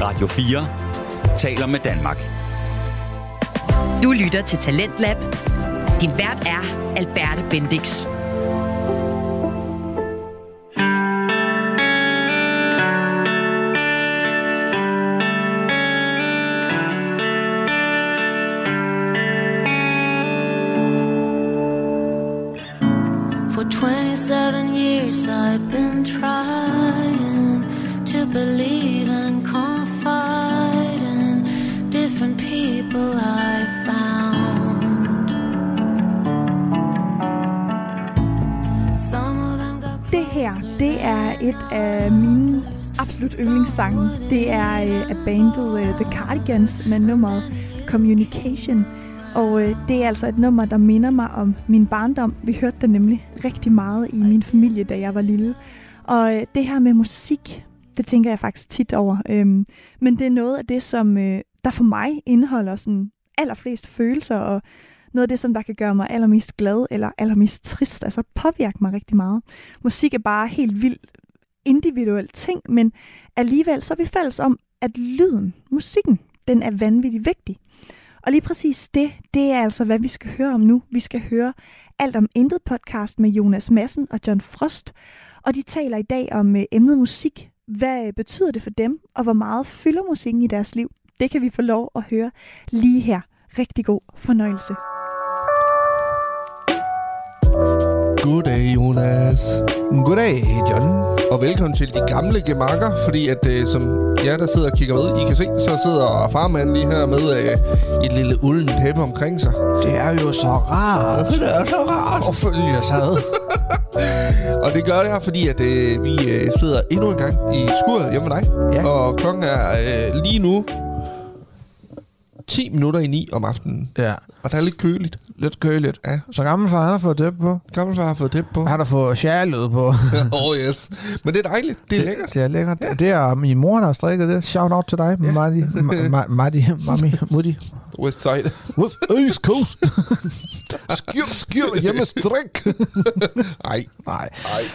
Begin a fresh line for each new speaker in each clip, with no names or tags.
Radio 4 taler med Danmark.
Du lytter til Talentlab. Din vært er Alberte Bendix.
For 27 years I've been trying to believe and confide in different people I found. Some of them got
Det her, det er et af mine absolut yndlingssange. Det er øh, af bandet øh, The Cardigans med nummeret Communication. Og øh, det er altså et nummer, der minder mig om min barndom. Vi hørte det nemlig rigtig meget i min familie, da jeg var lille. Og øh, det her med musik, det tænker jeg faktisk tit over. Øhm, men det er noget af det, som øh, der for mig indeholder sådan allerflest følelser, og noget af det, som der kan gøre mig allermest glad eller allermest trist, altså påvirke mig rigtig meget musik er bare helt vildt individuel ting, men alligevel så er vi fælles om, at lyden, musikken, den er vanvittigt vigtig. Og lige præcis det, det er altså, hvad vi skal høre om nu. Vi skal høre alt om Intet podcast med Jonas Madsen og John Frost, og de taler i dag om øh, emnet musik. Hvad øh, betyder det for dem, og hvor meget fylder musikken i deres liv? Det kan vi få lov at høre lige her. Rigtig god fornøjelse.
Goddag, Jonas.
Goddag, John.
Og velkommen til de gamle gemakker, fordi at, øh, som jer, der sidder og kigger med, I kan se, så sidder farmand lige her med øh, et lille ulden tæppe omkring sig.
Det er jo så rart
Det er så rart.
at følge sig ad.
Og det gør det her, fordi at, øh, vi øh, sidder endnu en gang i skuret hjemme med dig.
Ja.
Og klokken er øh, lige nu 10 minutter i 9 om aftenen.
Ja,
Og der er lidt køligt.
lidt køligt.
Ja.
Så gammel far han har fået dæb på.
Gammelfar har fået tæppe på.
Han har fået sjælet på.
oh yes. Men det er dejligt. Det er lækkert.
Det er lækkert. Ja. Det er min mor, der har strikket det. Shout out til dig, ja. Marty. Ma- Ma- Marty. Mami. Mutti.
Westside.
West East Coast. skjul, skjul. Hjemme strik.
Ej.
Nej.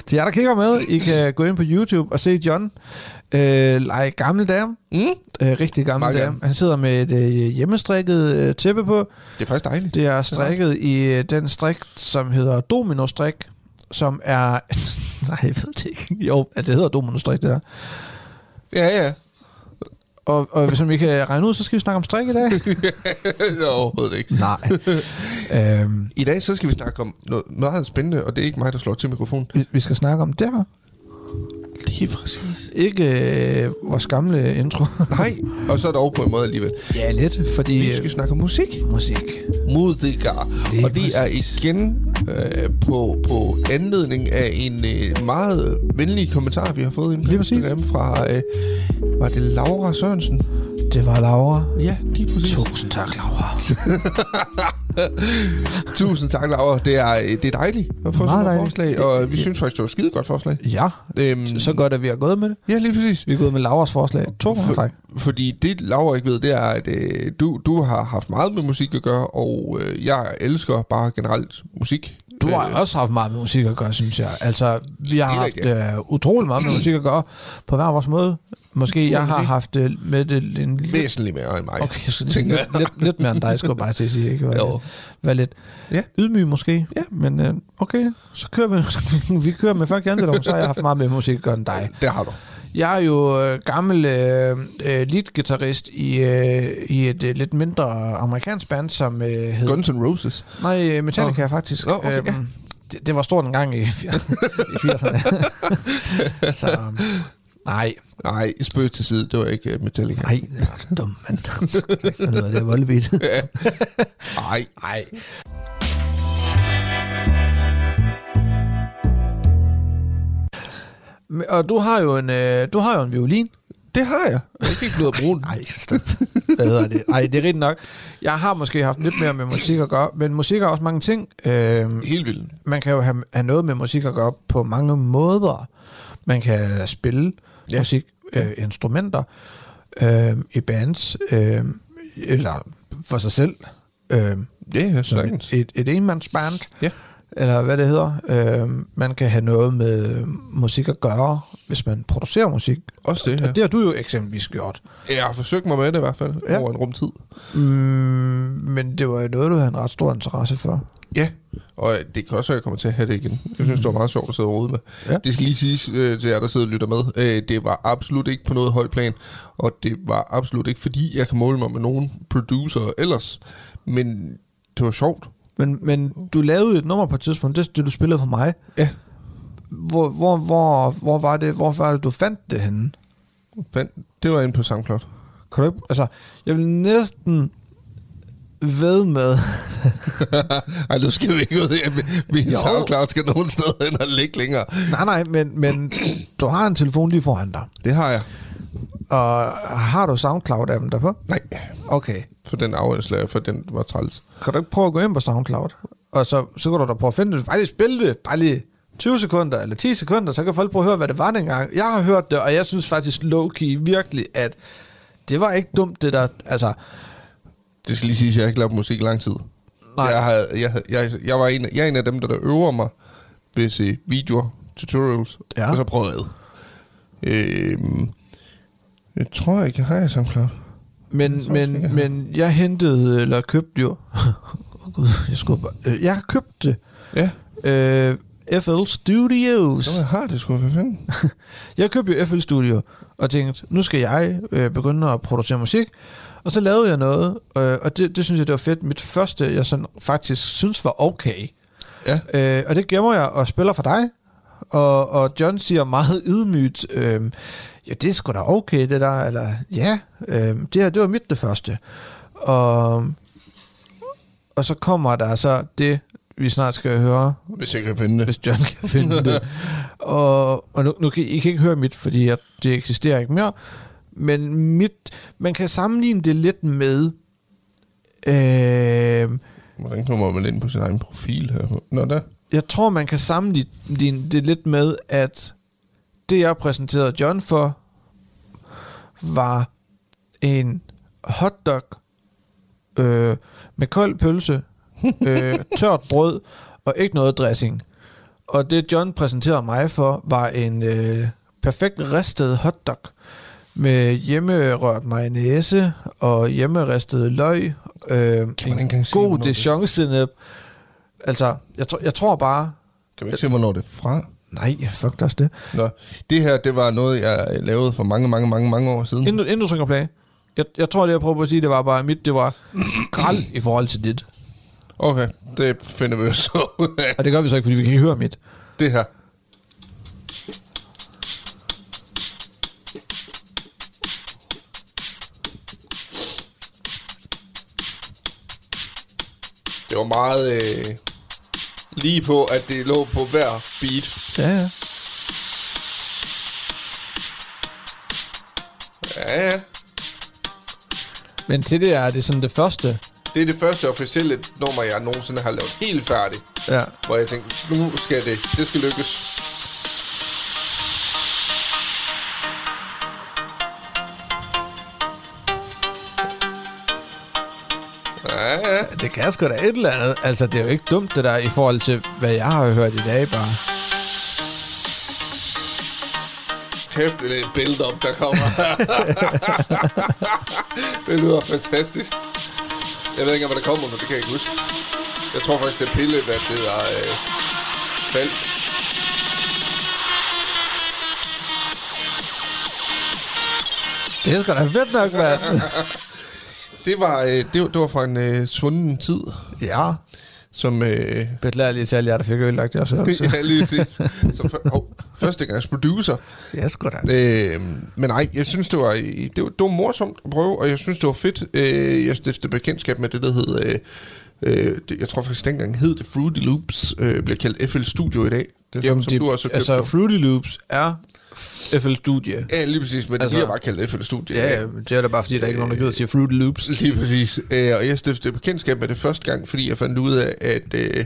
Til jer, der kigger med, I kan gå ind på YouTube og se John øh, lege gammel dame.
Mm.
Øh, rigtig gammel
Meget
dame.
gammel.
Han sidder med et øh, hjemmestrikket øh, tæppe på.
Det er faktisk dejligt.
Det er strikket i øh, den strik, som hedder dominostrik, som er... Nej, jeg ved det ikke. Jo, ja, det hedder dominostrik, det der.
Ja, ja.
Og, og som I kan regne ud, så skal vi snakke om strik i dag.
Det er Øh, overhovedet ikke.
Nej. øhm,
I dag så skal vi snakke om noget meget spændende, og det er ikke mig, der slår til mikrofonen.
vi, vi skal snakke om det her.
Lige præcis.
Ikke øh, vores gamle intro.
Nej, og så er det over på en måde alligevel.
ja, lidt, fordi...
Vi skal snakke om musik.
musik.
Musikere.
Lige
Og det er
præcis.
igen øh, på, på anledning af en øh, meget venlig kommentar, vi har fået ind på
Lige præcis.
Instagram fra... Øh, var det Laura Sørensen?
Det var Laura.
Ja, lige præcis.
Tusind tak, Laura.
Tusind tak, Laura. Det er, øh, det er dejligt at få sådan
Meget
nogle
dejligt.
forslag, og vi synes faktisk, det var et skide godt forslag.
Ja,
Øhm,
så godt, at vi har gået med det.
ja, lige præcis.
Vi er gået med Lauras forslag. To gange, tak.
Fordi det, Laura ikke ved, det er, at øh, du, du har haft meget med musik at gøre, og øh, jeg elsker bare generelt musik. Øh,
Du har også haft meget med musik at gøre, synes jeg. Altså, vi har
Helt
haft
rigtigt.
øh, utrolig meget med musik at gøre på hver vores måde. Måske jeg har haft øh, med det en lille...
Væsentligt mere end mig.
Okay, så
tænker
lidt,
jeg.
lidt, lidt mere end dig, skulle jeg bare til at sige. Ikke?
Jo.
Var, var lidt
Ja.
ydmyg måske,
Ja.
men øh, okay, så kører vi, vi kører med fuck jantelov, så har jeg haft meget med musik at gøre end dig.
Det har du.
Jeg er jo øh, gammel øh, øh, lead-gitarrist i, øh, i et øh, lidt mindre amerikansk band, som øh, hedder...
Guns N' Roses.
Nej, øh, Metallica oh. faktisk.
Nå, okay, ja.
det, det var stort en gang i, fir- i 80'erne. så um, nej,
øhm, Nej, spøg til side. Det var ikke øh, Metallica.
nej, det var dum mand. Noget af det voldbeat.
Nej.
Nej. Men- Og du har jo en, øh, du har jo en violin.
Det har jeg. Jeg kan ikke blevet at bruge den.
Nej, stop. Hvad hedder det? Nej, det er rigtigt nok. Jeg har måske haft lidt mere med musik at gøre, men musik er også mange ting. Øh,
Helt vildt.
man kan jo have, have noget med musik at gøre på mange måder. Man kan spille ja. musik, øh, instrumenter øh, i bands, øh, eller for sig selv, øh,
Ja, yeah,
som et, et enmandsband.
Ja.
eller hvad det hedder. Øh, man kan have noget med musik at gøre, hvis man producerer musik.
Også det, ja.
Og det har du jo eksempelvis gjort.
Jeg har forsøgt mig med det i hvert fald,
Ja.
ja. over en rumtid.
Mm, men det var jo noget, du havde en ret stor interesse for.
Ja, og det kan også være, at jeg kommer til at have det igen. Jeg synes, det var meget sjovt at sidde og rode med.
Ja.
Ja. Det skal lige siges øh, til jer, der sidder og lytter med. Øh, det var absolut ikke på noget højt plan, og det var absolut ikke, fordi jeg kan måle mig med nogen producer ellers. Men det var sjovt.
Men, men du lavede et nummer på et tidspunkt, det, det du spillede for mig.
Ja.
Hvor, hvor, hvor, hvor, var det, hvor var det, du fandt det henne?
Fandt- Det var inde på SoundCloud.
Kan du ikke, altså, jeg vil næsten ved med,
Ej, nu skal vi ikke ud. af, at Min
Jo.
SoundCloud skal nogen steder hen og ligge længere.
nej nej, men, men du har en telefon lige foran dig,
Det har jeg.
og har du SoundCloud-appen derpå?
Nej,
Okay,
for den afhængighed, for den var træls.
kan du ikke prøve at gå ind på SoundCloud, og så, så kan du da prøve at finde det, bare lige spille det, bare lige 20 sekunder eller 10 sekunder, så kan folk prøve at høre, hvad det var dengang. Jeg har hørt det, og jeg synes faktisk low-key virkelig, at det var ikke dumt, det der, altså,
Det skal lige siges, at jeg har ikke lavet musik i lang tid.
Nej.
Nej. Jeg, havde, jeg, havde- jeg, jeg, var en, af- jeg er en af dem, der, der øver mig ved at se videoer, tutorials,
Ja.
ja. og så prøvede øhm, jeg tror ikke, jeg har jeg SoundCloud.
Men, men, men jeg hentede, eller købte jo... Åh, Gud, jeg skulle bare... Øh, jeg købte
Ja,
øh, FL Studios.
Nå, jeg har det sgu, for fanden.
Jeg købte jo FL Studio og tænkte, nu skal jeg øh, begynde at producere musik. Og så lavede jeg noget, øh, og det, det synes jeg, det var fedt. Mit første, jeg sådan faktisk synes var okay.
Ja.
Øh, og det gemmer jeg og spiller for dig. Og, og John siger meget ydmygt, øh, ja, det er sgu da okay, det der. Eller, ja, øh, det her, det var mit det første. Og, og så kommer der så det, vi snart skal høre,
Hvis jeg kan finde det.
hvis John kan finde det. og og nu, nu kan I kan ikke høre mit, fordi jeg, det eksisterer ikke mere. Men mit, man kan sammenligne det lidt med... Øh,
Hvordan kommer man ind på sin egen profil her? Nå da.
jeg tror, man kan sammenligne det lidt med, at det, jeg præsenterede John for, var en hotdog øh, med kold pølse, øh, tørt brød og ikke noget dressing. Og det, John præsenterede mig for, var en øh, perfekt ristet hotdog med hjemmerørt mayonnaise og hjemmeristet løg, øh,
man ikke
en
engang se,
god
hvornår det-
dijon-sennep. Altså, jeg, tror- jeg tror bare,
Kan vi ikke se, hvornår det er fra?
Nej, fuck dig også det.
Nå, det her, det var noget, jeg lavede for mange, mange, mange, mange år siden.
Inden, du- inden du trykker play, jeg, jeg tror, det jeg prøver på at sige, det var bare, at mit det var skrald i forhold til dit.
Okay, det finder vi jo så ud af.
Og det gør vi så ikke, fordi vi kan ikke høre mit.
Det her. Det var meget øh, lige på, at det lå på hver beat.
Ja, ja.
Ja, ja.
Men til det er det er sådan det første.
Det er det første officielle nummer, jeg nogensinde har lavet helt færdigt.
Ja.
Hvor jeg tænkte, nu skal det, det skal lykkes. Ja, ja.
Det kan sgu da et eller andet. Altså, det er jo ikke dumt, det der, i forhold til, hvad jeg har hørt i dag, bare.
Kæft, det er et build-up, der kommer. det lyder fantastisk. Jeg ved ikke engang, hvad der kommer nu, det kan jeg ikke huske. Jeg tror faktisk, det er pille, hvad det er øh, falsk.
Det er sgu da fedt nok, mand.
Det var, øh, det, var- det var fra en øh, svunden tid,
ja.
som... Øh,
Beklager lige til alle jer, der fik ødelagt jeres hørelse.
ja, lige præcis. Som fø- oh, første gangs producer.
ja, sgu da.
Øh, men nej, jeg synes, det var, det, var, det var morsomt at prøve, og jeg synes, det var fedt. Øh, jeg stiftede bekendtskab med det, der hed... Øh, øh, det, jeg tror faktisk, dengang hed det Fruity Loops, øh, bliver kaldt FL Studio i dag. Det er Jamen, som, det, du også har købt.
altså,
Altså,
Fruity Loops er FL Studio.
ja, lige præcis, men
altså-
altså, det bliver bare kaldt FL Studio. i
Ja,
dag.
ja, men det er da bare, fordi der er ikke nogen, der gider at sige Fruity Loops.
Lige præcis. Øh, og jeg stiftede bekendtskab med det første gang, fordi jeg fandt ud af, at øh,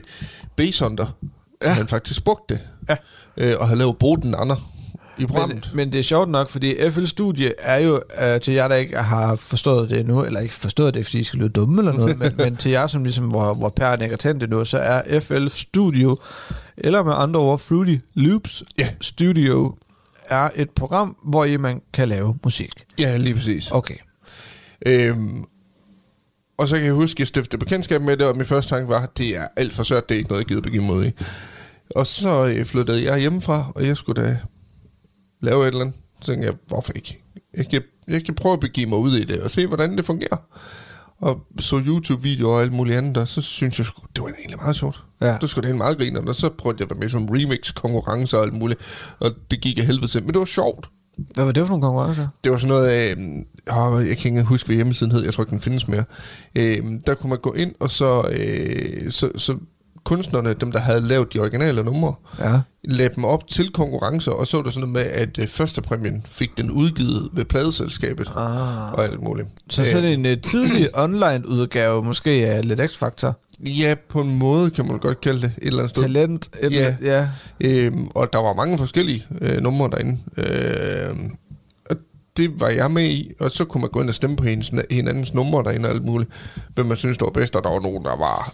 Basehunter, ja. han faktisk brugte det.
Ja.
Øh, og havde lavet Boden Ander. i
Men,
programmet.
men det er sjovt nok, fordi FL Studie er jo, øh, til jer, der ikke har forstået det endnu, eller ikke forstået det, fordi I skal lyde dumme eller noget, men, men til jer, som ligesom, hvor, hvor pæren ikke er tændt endnu, så er FL Studio, eller med andre ord, Fruity Loops
Ja.
Studio, er et program, hvor I man kan lave musik.
Ja, lige præcis.
Okay.
Øhm, og så kan jeg huske, at jeg stiftede bekendtskab med det, og min første tanke var, at det er alt for sødt, det er ikke noget, jeg gider begive mig ud i. Og så øh, flyttede jeg hjemmefra, og jeg skulle da lave et eller andet. Så tænkte jeg, hvorfor ikke? Jeg kan, jeg kan prøve at begive mig ud i det, og se, hvordan det fungerer. Og så YouTube-videoer og alt muligt andet, og så synes jeg, sgu, det var egentlig meget sjovt.
Ja.
Det skulle da meget grine, og så prøvede jeg at være med som remix-konkurrencer og alt muligt, og det gik jeg helvede til. Men det var sjovt.
Hvad var det for nogle konkurrencer?
Det var sådan noget af, øh, jeg kan ikke huske, hvad hjemmesiden hed, jeg tror ikke, den findes mere. Øh, der kunne man gå ind, og så, øh, så, så kunstnerne, dem der havde lavet de originale numre,
Ja.
lagde dem op til konkurrencer, og så var der sådan noget med, at øh, førstepræmien fik den udgivet ved pladeselskabet ah. og alt muligt.
Så øh. sådan en uh, tidlig online-udgave, måske af lidt X-Factor,
Øh, Ja, på en måde kan man godt kalde det et eller andet sted.
talent, et,
Ja.
yeah. ja.
Øhm, og der var mange forskellige øh, numre derinde. Øhm, og det var jeg med i, og så kunne man gå ind og stemme på hendes, hinandens numre derinde og alt muligt. Hvem man synes, der var bedst, og der var nogen, der var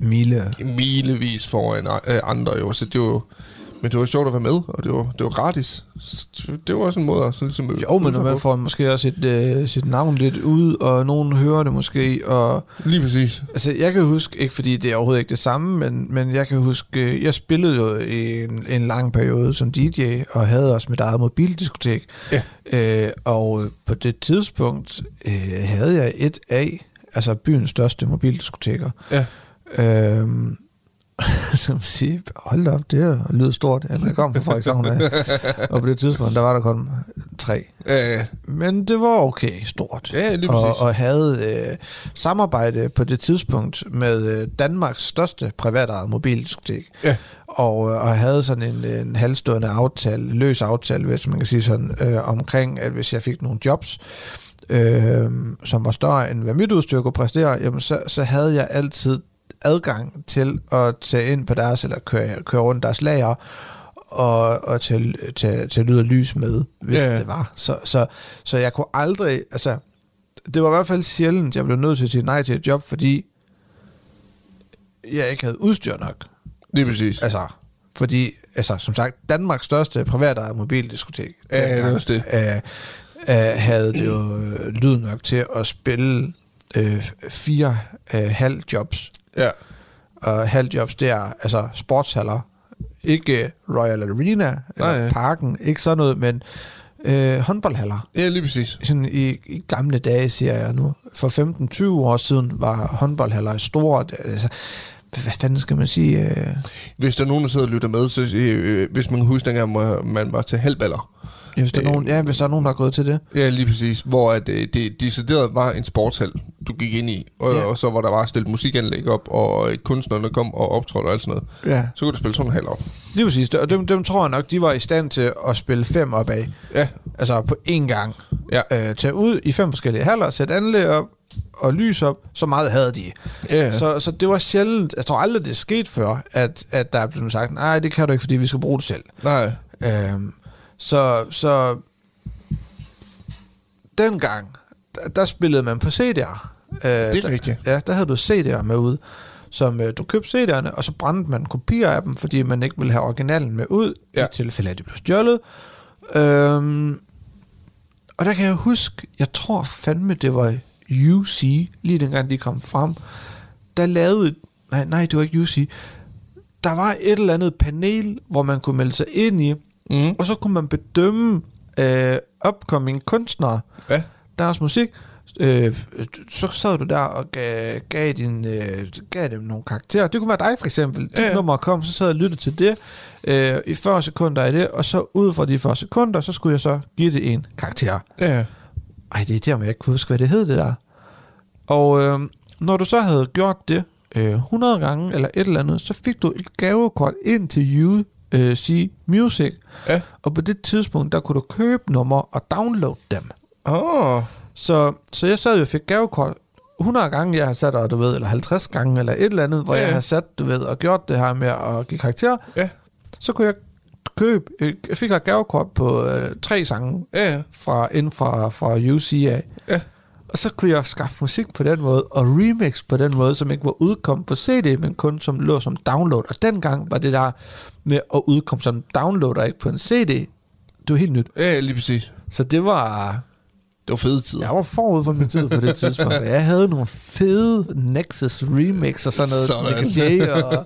Mille.
milevis foran øh, andre. Jo. Så det var, men det var sjovt at være med, og det var, det var gratis. Så det- det var også en måde at sådan ligesom...
Jo, men når
hvad
man får måske også sit, øh, sit navn lidt ud, og nogen hører det måske, og...
Lige præcis.
Altså, jeg kan huske, ikke fordi det er overhovedet ikke det samme, men, men jeg kan huske, øh, jeg spillede jo i en, en lang periode som DJ, og havde også mit eget mobildiskotek.
Ja.
Øh, og øh, på det tidspunkt øh, havde jeg et af, altså byens største mobildiskoteker.
Ja.
Øhm, som siger, hold da op, det her lyder stort. Jamen, jeg kom fra Frederikshavn af. og på det tidspunkt, der var der kun tre.
Øh,
Men det var okay stort.
Ja, lige præcis.
og, og havde øh, samarbejde på det tidspunkt med øh, Danmarks største privatejede mobildiskotek.
Ja.
Og, øh, og havde sådan en, en halvstående aftale, løs aftale, hvis man kan sige sådan, øh, omkring, at hvis jeg fik nogle jobs, øh, som var større end hvad mit udstyr kunne præstere, jamen så, så havde jeg altid adgang til at tage ind på deres, eller køre, køre rundt deres lager, og, og tage, tage, tage lyd og lys med, hvis
Ja,
ja.
ja.
det var. Så, så, så jeg kunne aldrig, altså, det var i hvert fald sjældent, jeg blev nødt til at sige nej til et job, fordi jeg ikke havde udstyr nok.
lige præcis.
Altså, fordi, altså, som sagt, Danmarks største privatejede mobildiskotek
Ja, ja, det er
dengang,
også det.
Øh, øh, havde det jo øh, lyd nok til at spille øh, fire øh, halvjobs.
Ja.
Og halvjobs, det er altså sportshaller. Ikke øh, Royal Arena eller
Nej, ja.
Parken, ikke sådan noget, men øh, håndboldhaller
ja, lige præcis.
sådan i, i gamle dage, siger jeg nu, for 15-20 år siden var håndboldhaller store. Altså, hvad hvad fanden skal man sige? Øh,
Hvis der er nogen, der sidder og lytter med, så øh, hvis man kan huske dengang, hvor man var til halvballer,
ja, hvis, der er
Øh.
nogen, ja, hvis der er nogen, der er gået til det.
Ja, lige præcis. Hvor at, øh, det decideret var en sportshal, du gik ind i. Og,
Ja.
ja. og så var der bare stillet musikanlæg op, og øh, kunstnerne kom og optrådte og alt sådan noget.
Ja,
Så kunne du spille sådan en hal op.
lige præcis. Og dem, dem tror jeg nok, de var i stand til at spille fem op af.
Ja,
Altså på én gang.
Ja.
Øh, tage ud i fem forskellige haller, sætte anlæg op og lys op. Så meget havde de.
ja. Så,
Så, så det var sjældent, jeg tror aldrig, det er sket før, at, at der er blevet sagt, nej, det kan du ikke, fordi vi skal bruge det selv.
nej.
Øhm, så, så dengang, der, der spillede man på CD'er. Øh,
Det
der-
er rigtigt.
Ja, der havde du CD'er med ud, som øh, du købte CD'erne, og så brændte man kopier af dem, fordi man ikke ville have originalen med ud, ja.
Ja.
i tilfælde af, at de blev stjålet. Øhm, og der kan jeg huske, jeg tror fandme, det var UC, lige dengang de kom frem, der lavede... Nej, nej, det var ikke UC. Der var et eller andet panel, hvor man kunne melde sig ind i,
Mm.
og så kunne man bedømme øh, upcoming kunstnere,
Ja.
deres musik. Øh, så sad du der og gav, gav, din, øh, gav dem nogle karakterer. Det kunne være dig for eksempel. Dit
Ja,
ja.
ja.
nummer kom, så sad jeg og lyttede til det øh, i 40 sekunder af det, og så ud fra de 40 sekunder, så skulle jeg så give det en karakter.
Ja.
Ej, det er der, jeg ikke kunne huske, hvad det hed, det der. Og øh, når du så havde gjort det øh, 100 gange eller et eller andet, så fik du et gavekort ind til UC Music.
Ja.
Og på det tidspunkt, der kunne du købe numre og downloade dem.
Åh.
Ah.
Oh.
Så, så jeg sad jo og fik gavekort 100 gange, jeg har sat, og du ved, eller 50 gange, eller et eller andet, hvor
Ja,
ja. jeg
ja.
har sat, du ved, og gjort det her med at give karakter.
Ja.
Så kunne jeg køb, øh, jeg fik et gavekort på øh, tre sange
Ja, ja.
fra, inden fra, fra UCA.
Ja.
Og så kunne jeg skaffe musik på den måde, og remix på den måde, som ikke var udkommet på CD, men kun som lå som download. Og dengang var det der med at udkomme som download og ikke på en CD, det var helt nyt.
Ja, lige præcis.
Så det var...
Det var fede tider.
Jeg var forud for min tid på det tidspunkt. Jeg havde nogle fede Nexus remix og sådan noget.
Sådan.
Sådan. Nick Jay og,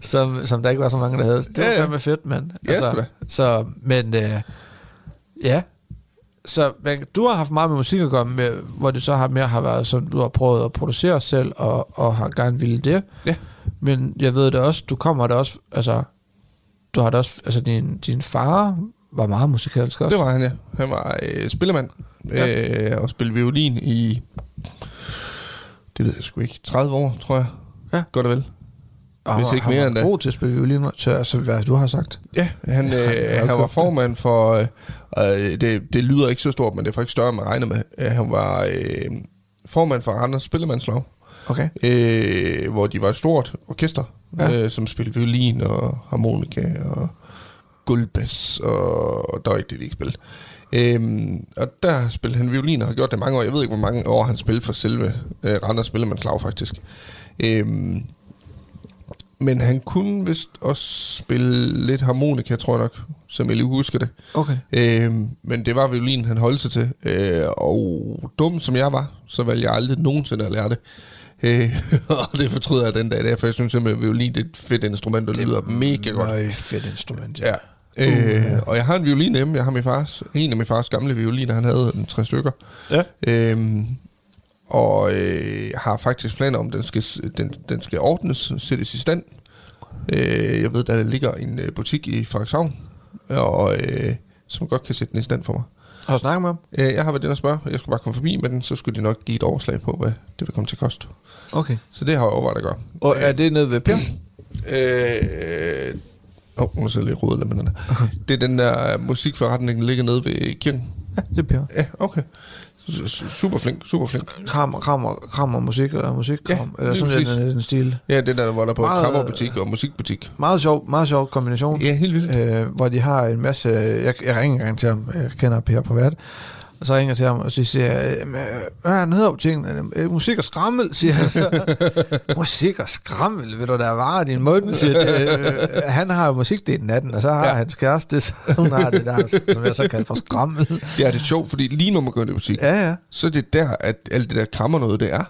som, som der ikke var så mange, der havde. Det var
Ja, ja.
fandme fedt, mand. Altså,
Ja, sgu da.
så, men øh, ja. Så men, du har haft meget med musik at gøre, med, hvor det så har mere har været sådan, du har prøvet at producere selv, og, og har gerne ville det.
Ja.
Men jeg ved det også, du kommer da også, altså, du har da også, altså din, din far var meget musikalsk også.
Det var han, ja. Han var øh, spillemand ja. øh, og spillede violin i, det ved jeg sgu ikke, 30 år, tror jeg.
Ja.
Godt og vel.
Og
Hvis
han var-
ikke
han
mere
var
end det.
god til at spille violin, til, altså, hvad du har sagt.
Ja, han,
Ja, jeg har
øh, han
købt
var
det.
formand for, øh, øh, det, det lyder ikke så stort, men det er faktisk større, end man regner med. Øh, Han var øh, formand for Randers Spillemandslov,
Okay.
øh, hvor de var et stort orkester,
Ja.
ja. øh, som spillede violin og harmonika og gulvbas, og, og der var ikke det, de ikke spillede. Øhm, og der spillede han violin og har gjort det mange år. Jeg ved ikke, hvor mange år han spillede for selve øh, Randers Spillemandslag, faktisk. Øhm, men han kunne vist også spille lidt harmonika, tror jeg nok, som jeg lige husker det.
Okay.
Øhm, men det var violin, han holdt sig til. Øh, og dum som jeg var, så valgte jeg aldrig nogensinde at lære det. Øh, og det fortryder jeg den dag i dag, for jeg synes simpelthen, at violin det er et fedt instrument, og det lyder mega godt.
Meget fedt instrument,
Ja. Øh, og jeg har en violin hjemme. Jeg har min fars, en af min fars gamle violiner. Han havde en tre stykker.
Ja.
Øhm, og øh, jeg har faktisk planer om, at den skal, s- den, den skal ordnes, sættes i stand. Øh, jeg ved, der ligger en øh, butik i Frederikshavn, og, øh, som godt kan sætte den i stand for mig.
Har du snakket med ham?
Øh, jeg har været inde og spørge. Jeg skulle bare komme forbi med den, så skulle de nok give et overslag på, hvad det vil komme til at koste.
Okay.
Så det har jeg overvejet at gøre.
Og er det nede ved Per?
Øh, Åh, oh, nu sidder jeg lige og roder lidt med den her. Det er den der øh, musikforretning, der ligger nede ved kirken.
Ja, det er Per.
Ja, okay. S- s- Super flink, super flink.
Krammer, krammer, krammer musik og musikkram.
Ja,
Ja, eller
lige
sådan lidt
præcis.
den, den stil.
Ja, det der, hvor der er både
Meget-
krammerbutik og musikbutik.
Meget sjov, meget sjov kombination.
Ja, helt vildt.
Øh, hvor de har en masse... Jeg, jeg ringer engang til ham. Jeg kender Per privat. Og så ringer jeg til ham, og så siger jeg, "Jamen, øh, hvad er han hedder på tingene? Øh, Musik og skrammel, siger han så. musik og skrammel, vil du da vare din mund, siger det. Øh, han har jo musikdelen af den, og så har ja.
Ja.
hans kæreste, så hun har det der, som jeg så kalder for skrammel.
Ja, det er sjovt, fordi lige når man går ind i butik, ja.
Ja, ja.
så er det der, at alt det der krammer noget, det er.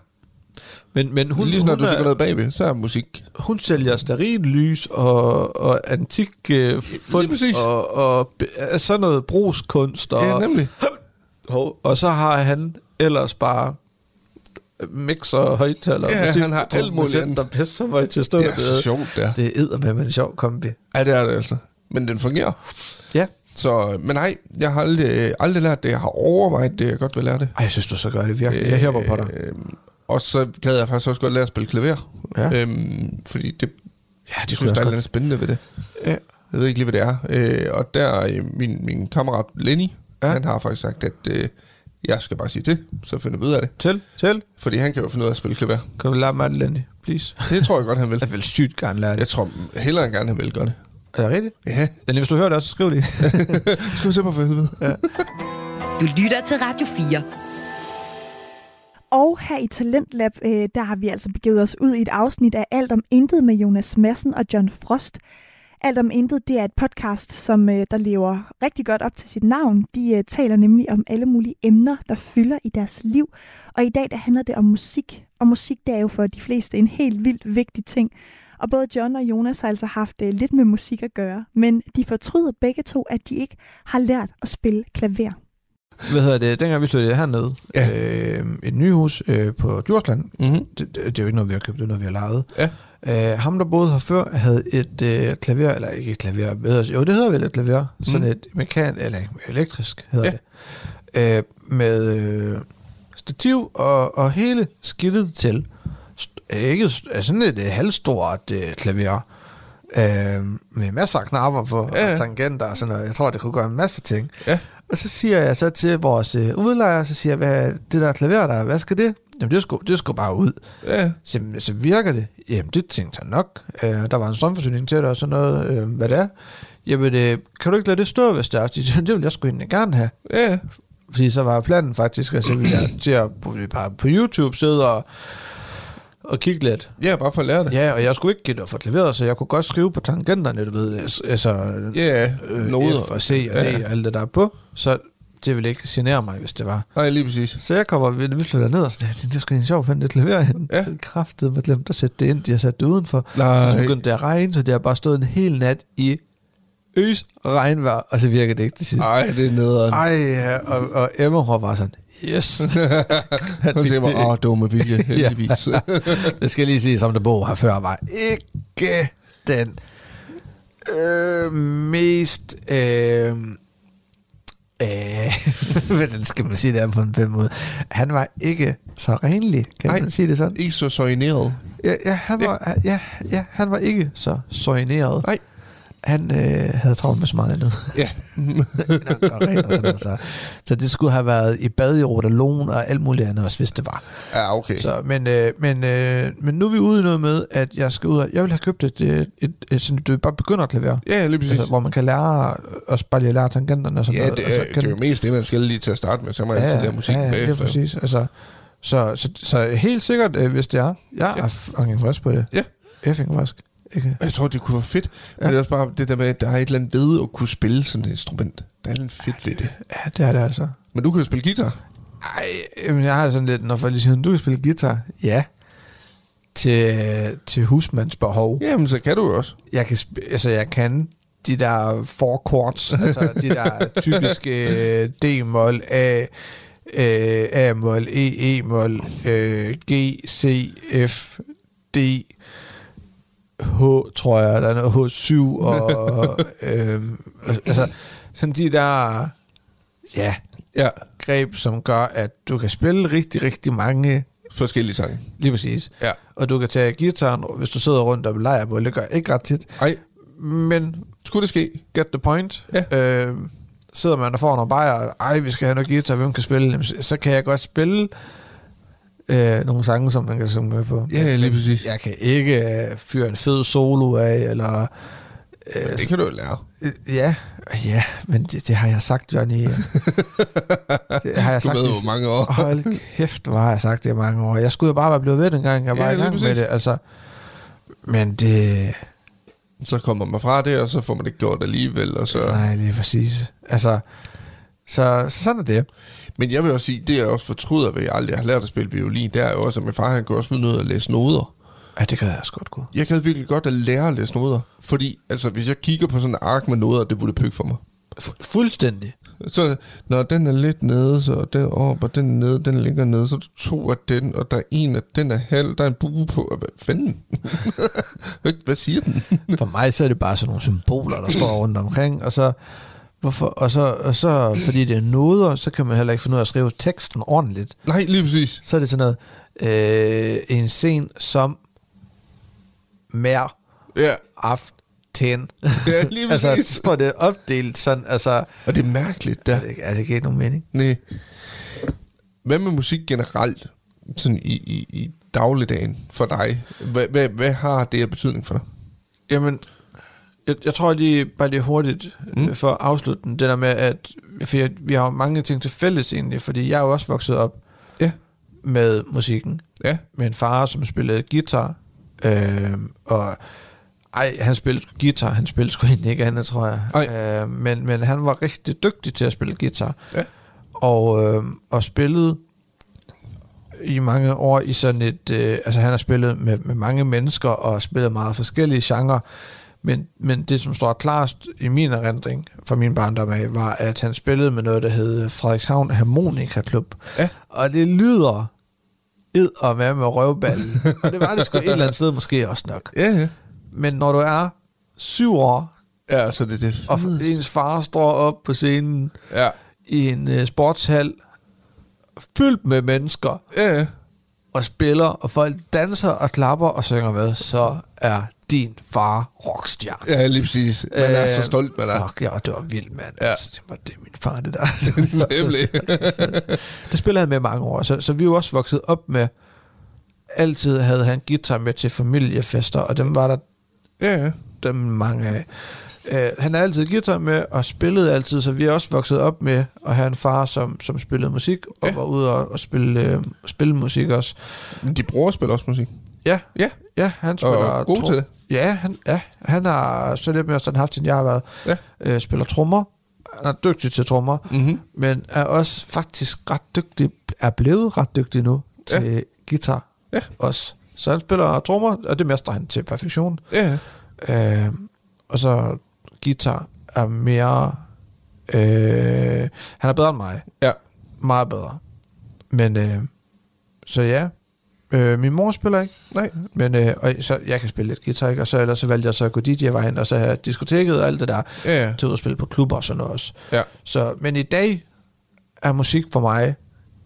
Men, men hun,
Hun, lige snart
hun,
du så går
er,
ned bagved, så er musik.
hun sælger sterillys og, og antik øh,
præcis.
fund og, og be- øh, sådan noget brugskunst. Og,
Ja, nemlig.
Hov. og så har han ellers bare mixer og højtaler.
Ja,
musik-
han har alt muligt andet.
Der pisse så meget til stå.
Det er så sjovt, det er.
Det er eddermame en sjov kombi.
Ja, det er det altså. Men den fungerer.
Ja.
Så, øh, men nej, jeg har aldrig, øh, aldrig lært det. Jeg har overvejet det, jeg godt vil lære det.
Ej, jeg synes, du så gør det virkelig. Jeg hæber på dig.
Øhm, og så gad jeg faktisk også godt lære at spille klaver.
Ja.
Øhm, fordi det, ja, det
jeg
synes,
også
der er
godt.
lidt spændende ved det.
Ja.
Jeg ved ikke lige, hvad det er. Øh, og der, øh, min, min kammerat Lenny,
Ja.
ja. han har faktisk sagt, at øh, jeg skal bare sige til, så finder vi ud af det.
Til, til.
Fordi han kan jo finde ud af at spille klaver.
Kan du lære mig det, Lenny? Please.
Det tror jeg godt, han vil.
Jeg vil sygt gerne lære
Jeg
det.
tror hellere end gerne, han vil gøre det.
Er det rigtigt?
Ja.
Lenny, hvis du hører det også, så skriv det.
Skriv til mig for helvede. Ja.
Du lytter til Radio 4.
Og her i Talentlab, øh, der har vi altså begivet os ud i et afsnit af Alt om Intet med Jonas Madsen og John Frost. Alt om Intet, det er et podcast, som øh, der lever rigtig godt op til sit navn. De øh, taler nemlig om alle mulige emner, der fylder i deres liv. Og i dag, der handler det om musik. Og musik, det er jo for de fleste en helt vildt vigtig ting. Og både John og Jonas har altså haft øh, lidt med musik at gøre. Men de fortryder begge to, at de ikke har lært at spille klaver.
Hvad hedder det? Dengang vi flyttede hernede,
Ja.
ja. øh, et nyhus øh, på Djursland,
Mm-hmm.
det, det, det er jo ikke noget, vi har købt, det er noget, vi har lejet.
Ja.
Øh, ham, der boede her før, havde et øh, klaver, eller ikke et klaver, hvad hedder, jo, det hedder vel et klaver, mm. sådan
Mm.
et mekan, eller ikke, elektrisk hedder
Ja.
det, øh, med øh, stativ og, og hele skidtet til. St- ikke st- altså sådan et øh, halvstort øh, klaver, øh, med masser af knapper på,
Ja,
ja.
ja.
og tangenter og sådan noget. Jeg tror, det kunne gøre en masse ting.
Ja.
Og så siger jeg så til vores øh, udlejer, så siger jeg, hvad, det der klaver der, hvad skal det? Jamen, det skulle, det skulle bare ud.
Ja.
Så, så virker det? Jamen, det tænkte han nok. Øh, der var en strømforsyning til det og sådan noget, øh, hvad det er. jamen, øh, kan du ikke lade det stå, hvis det er? De siger, Det vil jeg sgu egentlig gerne have.
Ja,
Fordi så var planen faktisk, at så ville jeg til at bare på YouTube sidde og, og kigge lidt.
ja, bare for at lære det.
Ja, og jeg skulle ikke give det for leveret, så jeg kunne godt skrive på tangenterne, du ved, altså
Ja,
øh,
noder.
F og C og D
Ja.
og alt det der er på, så det ville ikke genere mig, hvis det var.
Nej, lige præcis.
Så jeg kommer ved vi flytter ned, og sådan, jeg tænkte, det skulle en sjov finde det klaver hen.
Ja.
Ja. Kraftet, man glemte at sætte det ind, de har sat det udenfor.
Nej.
Og så begyndte det at regne, så det har bare stået en hel nat i øs regnvejr, og så virker det ikke det sidste.
Nej, det er nederen.
Ej, ja, og, og Emma var bare sådan, yes. Han
Hun
fik
siger
det.
bare, åh, dumme vilje, heldigvis.
det skal jeg lige sige, som der bor her før, var ikke den øh, mest... Øh, øh, hvordan skal man sige det her på en pæn måde? Han var ikke så renlig, kan
Nej.
Nej. man sige det sådan?
Ikke så soineret.
Ja, ja, han var, ja, ja, han var ikke så soigneret.
Nej.
Han øh, havde travlt med så meget andet.
Ja.
Når han går rent og sådan noget, så. så det skulle have været i bad i Rotalon og alt muligt andet også, hvis det var.
Ja, Ah, okay.
Så, men, øh, men, øh, men nu er vi ude i noget med, at jeg skal ud og, jeg vil have købt et, øh, et, et, et sådan, du bare begynder at klavere.
Ja, lige præcis.
Altså, hvor man kan lære, også bare lige at lære tangenterne og sådan
Ja,
noget.
det
og så
er, det er jo mest det, man skal lige til at starte med. Så må man altid lære musik
ja, ja, det er
bagefter.
præcis. Altså, så, så, så, helt sikkert, øh, hvis det er. Jeg
Ja.
er fucking frisk på det.
Ja.
Effing frisk. Ikke?
Og Jeg tror, det kunne være fedt. Men
Ja.
det er også bare det der med, at der er et eller andet ved at kunne spille sådan et instrument. Der er lidt fedt ved det.
Ja, det er det altså.
Men du kan jo spille guitar.
Ej, jamen, jeg har sådan lidt, når folk lige siger, du kan spille guitar. Ja. Til, øh, til husmandsbehov.
Jamen, så kan du jo også.
jeg kan, sp- altså jeg kan de der four chords, altså de der typiske øh, D-mol, A, øh, A-mol, E, E-mol, øh, G, C, F, D, H, tror jeg, der er noget H7, og øh, altså sådan de der, ja,
Ja,
greb, som gør, at du kan spille rigtig, rigtig mange,
forskellige sange.
lige præcis.
Ja.
Og du kan tage gitaren, hvis du sidder rundt og leger på, det gør jeg ikke ret tit,
Ej,
men
skulle det ske?
get the point.
Ja.
Øh, sidder man og får nogle bajer, og, ej, vi skal have noget guitar, hvem kan spille? Jamen, så- så kan jeg godt spille øh, nogle sange, som man kan synge med på.
Ja, lige præcis.
Jeg kan ikke øh, fyre en fed solo af, eller... Øh,
Det kan du jo lære.
øh, ja, ja, men det, det har jeg sagt, Johnny. det har jeg
Du
sagt
ved
i-
jo, hvor mange år.
Hold kæft, hvor har jeg sagt det i mange år. Jeg skulle jo bare være blevet ved dengang, jeg var
Ja,
ja, i
lige
gang med
præcis.
det. Altså, men det...
Så kommer man fra det, og så får man det gjort alligevel. Og så.
Nej, lige præcis. Altså, så så sådan er det.
Men jeg vil også sige, det jeg også fortryder ved, at jeg aldrig har lært at spille violin, det er jo også, at min far han kunne også finde ud af at læse noder.
Ja, det kan jeg også godt gå.
Jeg kan virkelig godt at lære at læse noder. Fordi altså, hvis jeg kigger på sådan en ark med noder, det ville pykke for mig.
Fuldstændig.
Så når den er lidt nede, så er den op, og den er nede, den ligger nede, så er der to af den, og der er en af den er halv, der er en bue på. og Hvad fanden? hvad, hvad siger den?
For mig så er det bare sådan nogle symboler, der står rundt omkring, og så, hvorfor, og så, og så fordi det er noder, så kan man heller ikke finde ud af at skrive teksten ordentligt.
Nej, lige præcis.
Så er det sådan noget, øh, en scen som mær
Ja,
aften.
ja lige præcis.
altså, så står det opdelt sådan, altså,
og det er mærkeligt,
ja.
der.
er, det, ikke- er det ikke helt nogen mening?
Nej. Hvad med musik generelt, sådan i, i, i dagligdagen for dig? Hvad, hvad, hvad har det af betydning for dig?
Jamen, jeg, jeg tror lige, bare lige hurtigt mm. for at afslutte den, det der med, at for jeg, vi har jo mange ting til fælles egentlig, fordi jeg er jo også vokset op
Ja.
med musikken,
Ja.
med en far, som spillede guitar, øh, og ej, han spillede sgu guitar, han spillede sgu egentlig ikke andet, tror jeg.
Ej.
Øh, men, men han var rigtig dygtig til at spille guitar,
Ja.
og, øh, og spillede i mange år i sådan et... Øh, altså han har spillet med, med mange mennesker og spillet meget forskellige genrer, men, men det, som står klarest i min erindring fra min barndom af, var, at han spillede med noget, der hed Frederikshavn Harmonika Klub.
Ja.
Og det lyder ed og med med røvballen. og det var det sgu et eller andet sted måske også nok.
Ja, ja.
Men når du er syv år,
Ja, så det er det.
og ens far står op på scenen
Ja.
i en øh, sportshal, fyldt med mennesker,
Ja, ja.
og spiller, og folk danser og klapper og synger med, så er din far rockstjerne.
Ja, lige præcis. Man er så
Øh,
stolt med dig.
Fuck, ja, det var vildt, mand.
Ja.
Ja. Altså, det, var, det er min far, det der. Så- så- så-
Nemlig.
så- det spiller han med i mange år, så, så vi er jo også vokset op med, altid havde han guitar med til familiefester, og dem var der
Ja, ja.
dem mange af. øh, han har altid guitar med, og spillede altid, så vi er også vokset op med at have en far, som, som spillede musik, og
Ja.
ja. var ude og, og spille, øh, spille musik også.
De bruger spiller også musik.
Ja,
Ja,
ja han
og
spiller...
er god
tro-
til det.
Ja, han, ja, han har så lidt mere sådan haft, end jeg har været.
Ja.
Øh, spiller trommer. Han er dygtig til trommer,
Mm-hmm.
men er også faktisk ret dygtig, er blevet ret dygtig nu til ja. guitar
Ja.
også. Så han spiller trommer, og det mestrer han til perfektion.
Ja,
Øh, og så guitar er mere... Øh, han er bedre end mig.
ja.
Meget bedre. Men øh, så ja, øh, min mor spiller ikke.
Nej.
Men øh, og så, jeg kan spille lidt guitar, ikke? og så, ellers så valgte jeg så at gå DJ-vejen, og så have diskoteket og alt det der,
Ja, ja.
til ud at spille på klubber og sådan noget også.
Ja.
Så, men i dag er musik for mig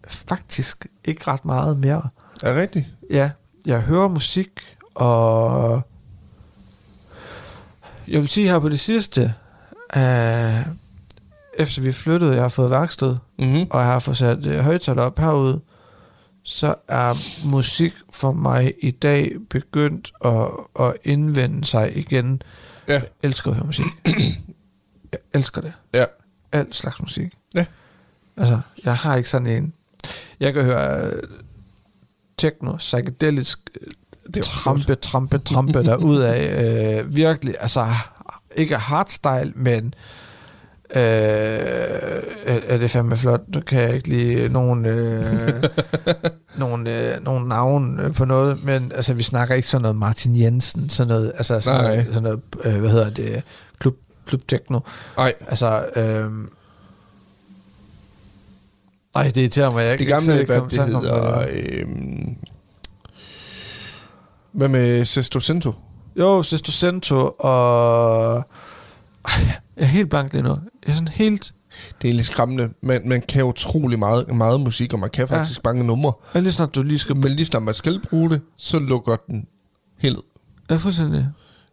faktisk ikke ret meget mere.
Er rigtigt?
Ja, jeg hører musik, og jeg vil sige her på det sidste, øh, efter vi flyttede, jeg har fået værksted,
Mm-hmm.
og jeg har fået sat øh, højtaler op herude, så er musik for mig i dag begyndt at, at indvende sig igen.
Ja,
Jeg elsker at høre musik. Jeg elsker det.
ja.
Al slags musik.
Ja.
Altså, jeg har ikke sådan en... Jeg kan høre øh, techno, psykedelisk,
er
det
jo
trampe, trampe, trampe derude af. Øh, virkelig, altså, ikke hardstyle, men øh, er, er det fandme flot. Nu kan jeg ikke lige nogen, øh, nogen, øh, nogen navn øh, på noget, men altså, vi snakker ikke sådan noget Martin Jensen, sådan noget, altså, sådan
Nej.
noget, sådan noget øh, hvad hedder det, klub, klub techno.
Ej,
Altså, øhm... Ej, det irriterer mig, jeg
det
ikke selv
gamle,
ikke
hvad
kom i
det
tanke om
hedder...
det.
Øhm, hvad med Sesto Cento?
Jo, Sesto Cento og... Ej, jeg er helt blank lige nu. Jeg er sådan helt...
Det er lidt skræmmende. Man, man kan utrolig meget, meget musik, og man kan
Ja.
faktisk ja. mange numre.
Og lige snart du lige skal...
Men lige snart man skal bruge det, så lukker den helt. ned.
Jeg er fuldstændig...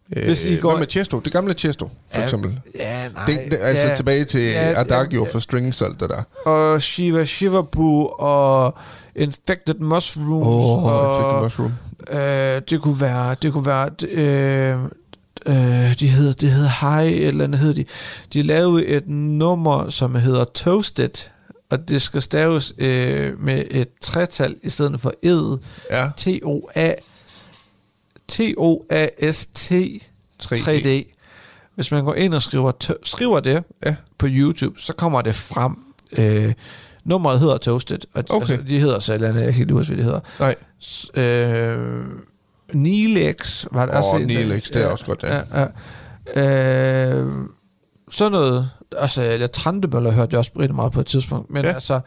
Hvis I
Øh,
går-
Hvad med Chesto? Det gamle Chesto, for ja, eksempel.
Ja, nej.
Det, det, altså ja, tilbage til ja, Adagio ja, for strings og alt det der.
Og Shiva Shivabu og Infected Mushrooms.
Åh, oh,
og,
Infected Mushroom.
Øh, det kunne være, det kunne være, d- øh, øh, de hedder, det hedder High, et eller andet hed de. De lavede et nummer, som hedder Toasted, og det skal staves øh, med et tretal i stedet for ed.
Ja,
T-O-A, T-O-A-S-T
3D.
3D. Hvis man går ind og skriver, to- skriver det
Ja.
på YouTube, så kommer det frem. Øh, nummeret hedder Toasted, og
Okay.
altså, de hedder så et eller andet, jeg kan ikke huske, hvad de hedder.
Nej,
S- øh, Nilex var der
Åh,
også en,
Nilex, det er også godt, ja.
ja, ja. Øh, sådan noget, altså, jeg trantebøller hørte jeg også rigtig meget på et tidspunkt, men
Ja.
ja. altså,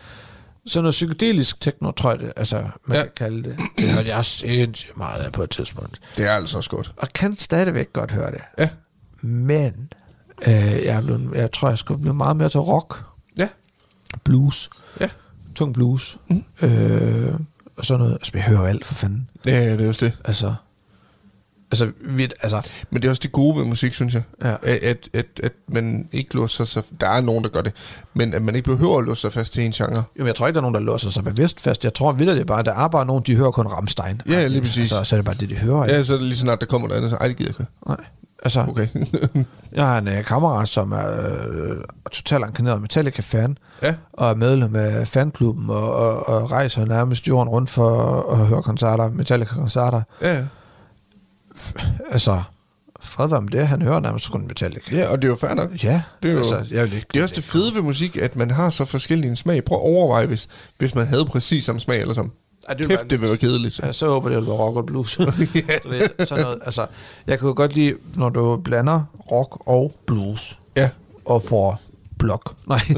sådan noget psykedelisk techno, tror jeg det, altså,
Ja.
man ja. kan kalde det. Det hørte jeg sindssygt meget af på et tidspunkt.
det er altså også godt.
Og kan stadigvæk godt høre det.
Ja.
Men, øh, jeg, er blevet, jeg tror, jeg skulle blive meget mere til rock,
Ja,
blues,
ja.
tung blues, mm. øh, og sådan noget. Altså, vi hører jo alt for fanden.
Ja, det er også det.
Altså, altså, vi, altså
Men det er også det gode ved musik, synes jeg.
Ja.
At, at, at, at man ikke låser sig... Der er nogen, der gør det. Men at man ikke behøver at låse sig fast til en genre.
jo, jeg tror ikke, der er nogen, der låser sig bevidst fast. Jeg tror vildt, det er bare, der er bare nogen, de hører kun Rammstein.
Ja,
Altså,
lige præcis.
Altså, så er det bare det, de
Ja,
hører. Ikke?
så er det lige snart, der kommer noget andet. Så, Ej, det gider jeg ikke.
Nej. Altså, okay.
Okay.
jeg har en øh, kammerat, som er øh, totalt enkaneret Metallica-fan,
ja.
og er medlem af fanklubben, og, og, og rejser nærmest jorden rundt for at, at høre koncerter, Metallica-koncerter.
Ja, ja.
Altså, fred være med det, han hører nærmest kun Metallica.
ja, og det er jo fair nok.
Ja,
Det er jo-
altså, jeg vil ikke...
Det er også det fede ved musik, at man har så forskellige en smag. Prøv at overveje, hvis, hvis man havde præcis samme smag, eller som.
Ej, det ville
Kæft,
være-
det ville være Altså. kedeligt.
Ja, så håber jeg, det vil være rock og blues. Du ved, sådan noget. Altså, jeg kan jo godt lide, når du blander rock og blues,
Ja.
og får blok. Nej.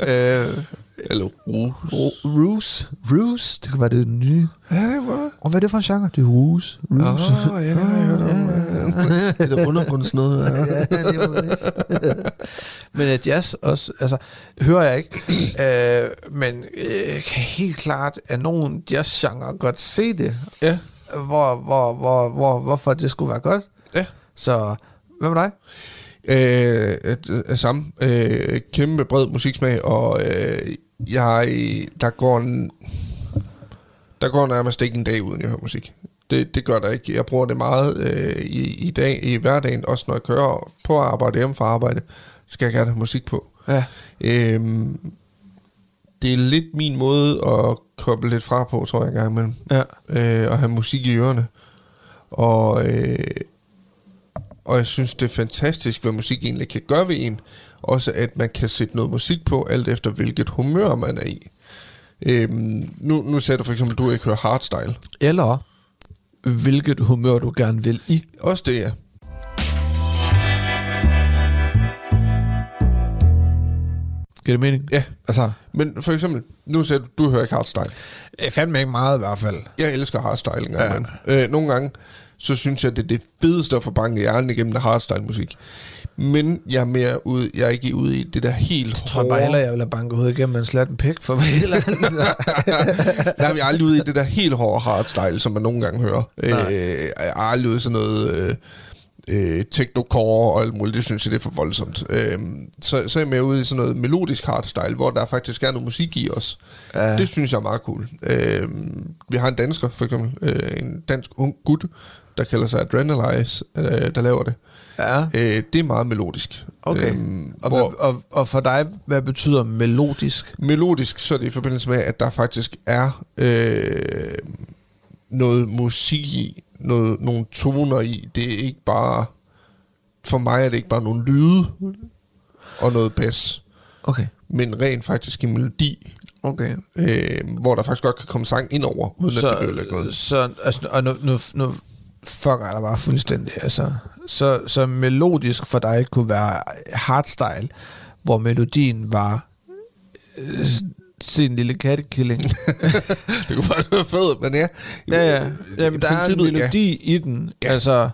øh,
Eller rus.
ruse. Ruse, det kan være det nye.
Ja, det var det.
Og hvad er det for en genre? Det er ruse. Ruse.
Åh, ja, det har jeg hørt om. ja. Det er undergrunds noget.
ja, det var det. men øh, jazz også, altså, hører jeg ikke. øh, men øh, kan helt klart, at nogen jazzgenre godt se det.
Ja,
Hvor, hvor, hvor, hvor, hvorfor det skulle være godt.
ja.
Så, hvad med dig?
Øh, øh, øh, samme. Øh, kæmpe bred musiksmag, og øh, jeg, der går en, der går nærmest ikke en dag uden jeg hører musik. Det, det gør der ikke. Jeg bruger det meget øh, i, i, dag, i hverdagen, også når jeg kører på arbejde, hjemme fra arbejde, skal jeg gerne have musik på.
Ja.
Øhm, det er lidt min måde at koble lidt fra på, tror jeg, en gang imellem.
Ja.
Øh, og have musik i ørerne. Og, øh, og jeg synes, det er fantastisk, hvad musik egentlig kan gøre ved en. Også at man kan sætte noget musik på, alt efter hvilket humør man er i. Øhm, nu, nu sagde du for eksempel, at du ikke hører hardstyle.
Eller hvilket humør du gerne vil i.
Også det, ja.
Giver det mening?
ja.
Altså,
Men for eksempel, nu sagde du, du hører ikke hardstyle.
jeg fandt mig ikke meget i hvert fald.
Jeg elsker hardstyle en gang. Ja. Øh, nogle gange, så synes jeg, det er det fedeste at få banket hjernen igennem af hardstyle-musik. Men jeg er mere ude, jeg er ikke ude i det der helt
Jeg tror bare heller, jeg ville have banket hovedet igennem en slat en pæk for hvad heller.
Der er vi aldrig ude i det der helt hårde hardstyle, som man nogle gange hører. Øh,
Nej.
jeg er aldrig ude i sådan noget øh, øh, technocore og alt muligt. Det synes jeg, det er for voldsomt. Øh, så, så er jeg mere ude i sådan noget melodisk hardstyle, hvor der faktisk er noget musik i os. Ja. Det synes jeg er meget cool. Øh, vi har en dansker, for eksempel. Øh, en dansk ung gut, der kalder sig Adrenalize, øh, der laver det.
ja.
Øh, det er meget melodisk.
Okay.
Øhm,
Og,
hvor-
hvad, og, og for dig, hvad betyder melodisk?
melodisk, så er det i forbindelse med, at der faktisk er øh, noget musik i, noget, nogle toner i. Det er ikke bare... For mig er det ikke bare nogle lyde og noget bas,
Okay.
men rent faktisk en melodi,
Okay.
øh, hvor der faktisk godt kan komme sang ind over, uden så, at det ødelægger noget.
så altså, og nu, nu, nu fucker jeg dig bare fuldstændig. Altså. Så, så melodisk for dig kunne være hardstyle, hvor melodien var øh, se en lille kattekilling.
Det kunne faktisk være fedt, men ja.
ja, ja.
i
Jamen, der er en
princippet, ja.
melodi ja. i den, ja. altså,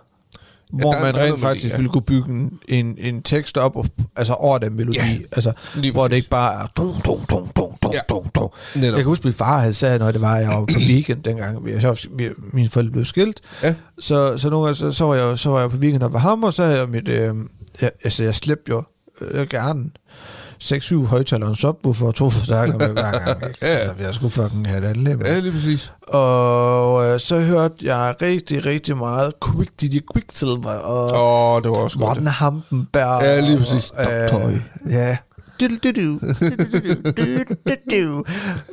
hvor
der er
ja,
en-
man
der er
rent
noget melodi,
faktisk
ja.
ville kunne bygge en, en, en tekst op og, altså, over den melodi.
Ja,
Ja. Altså,
lige
hvor det
præcis.
ikke bare er... Dum, dum, dum, dum, dum,
Ja.
ja. dum, dum. Jeg
Netop.
kan huske, min far havde sagde, når det var, jeg var på weekend dengang. Vi, jeg, vi, mine forældre blev skilt.
Ja.
Så, så nogle gange, så, så, var jeg, så var jeg på weekend og var ham, og så havde jeg mit... Øh, jeg, altså, jeg slæbte jo øh, gerne 6-7 højtaler og en subwoofer og to forstærkere med hver gang. Ikke?
Ja, ja.
Altså, jeg skulle fucking have det alle med.
Ja, lige præcis.
Og øh, så hørte jeg rigtig, rigtig meget Quick Diddy Quicksilver
Åh,
og oh,
oh, det var også godt.
Morten Hampenberg.
Ja, lige præcis.
Og,
Doktor Høj.
øh, ja. Du-du-du-du, du-du-du-du-du-du.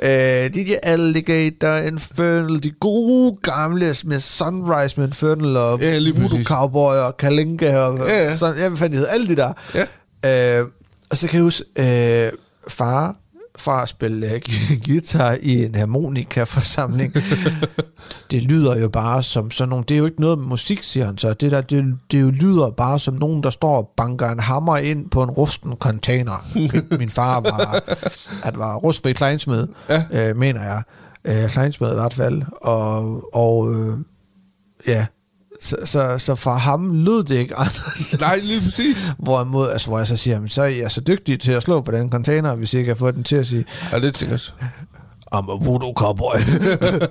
Øh, DJ Alligator, Infernal, de gode gamle med Sunrise med Infernal og
Ja, lige
Voodoo
præcis.
Cowboy og Kalinka og
Ja, ja.
sådan, ja, hvad fanden de hedder, alle de der.
Ja.
Øh, og så kan jeg huske, øh, far fra at spille øh, gu- guitar i en harmonikaforsamling. det lyder jo bare som sådan nogle... Det er jo ikke noget med musik, siger han så. Det, der, det, det jo lyder bare som nogen, der står og banker en hammer ind på en rusten container. Min far var, at var rustfri kleinsmed, ja. øh, mener jeg. Øh, kleinsmed i hvert fald. Og, og øh, ja, så, så, så for ham lød det ikke anderledes.
Nej, lige præcis.
Hvorimod, altså, hvor jeg så siger, "Jamen, så er jeg så dygtig til at slå på den container, hvis jeg kan få den til at sige,
Ja, det tænker jeg.
I'm a voodoo cowboy.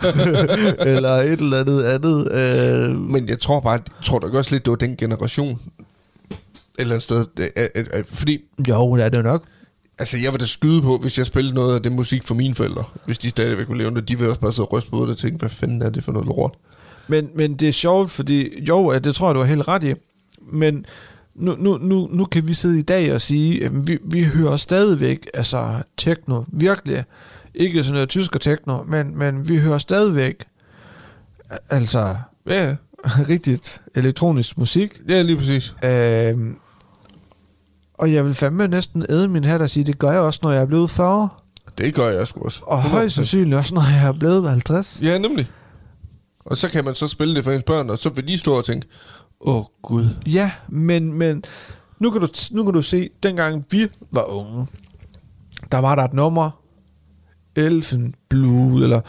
eller et eller andet andet. Øh,
Men jeg tror bare, jeg tror da også lidt, det var den generation. Et eller andet sted. Øh, øh, øh, Fordi,
jo, det er det nok.
altså jeg var da skyde på, hvis jeg spillede noget af det musik for mine forældre. Hvis de stadigvæk kunne leve det, de ville også bare sidde og ryste på hovedet og tænke, hvad fanden er det for noget lort?
Men, men det er sjovt, fordi jo, at det tror jeg, du har helt ret i, men nu, nu, nu, nu kan vi sidde i dag og sige, at vi, vi hører stadigvæk altså techno, virkelig. Ikke sådan noget tysk og techno, men, men vi hører stadigvæk altså
Ja, ja.
rigtigt elektronisk musik.
ja, lige præcis.
Øhm, og jeg vil fandme næsten æde min hat og sige, det gør jeg også, når jeg er blevet 40.
Det gør jeg sgu også.
Og højst sandsynligt også, når jeg er blevet 50.
Ja, nemlig. Og så kan man så spille det for ens børn, og så vil de stå og tænke, åh oh, gud.
Ja, men, men nu, kan du, nu kan du se, dengang vi var unge, der var der et nummer, Elfen Blue, eller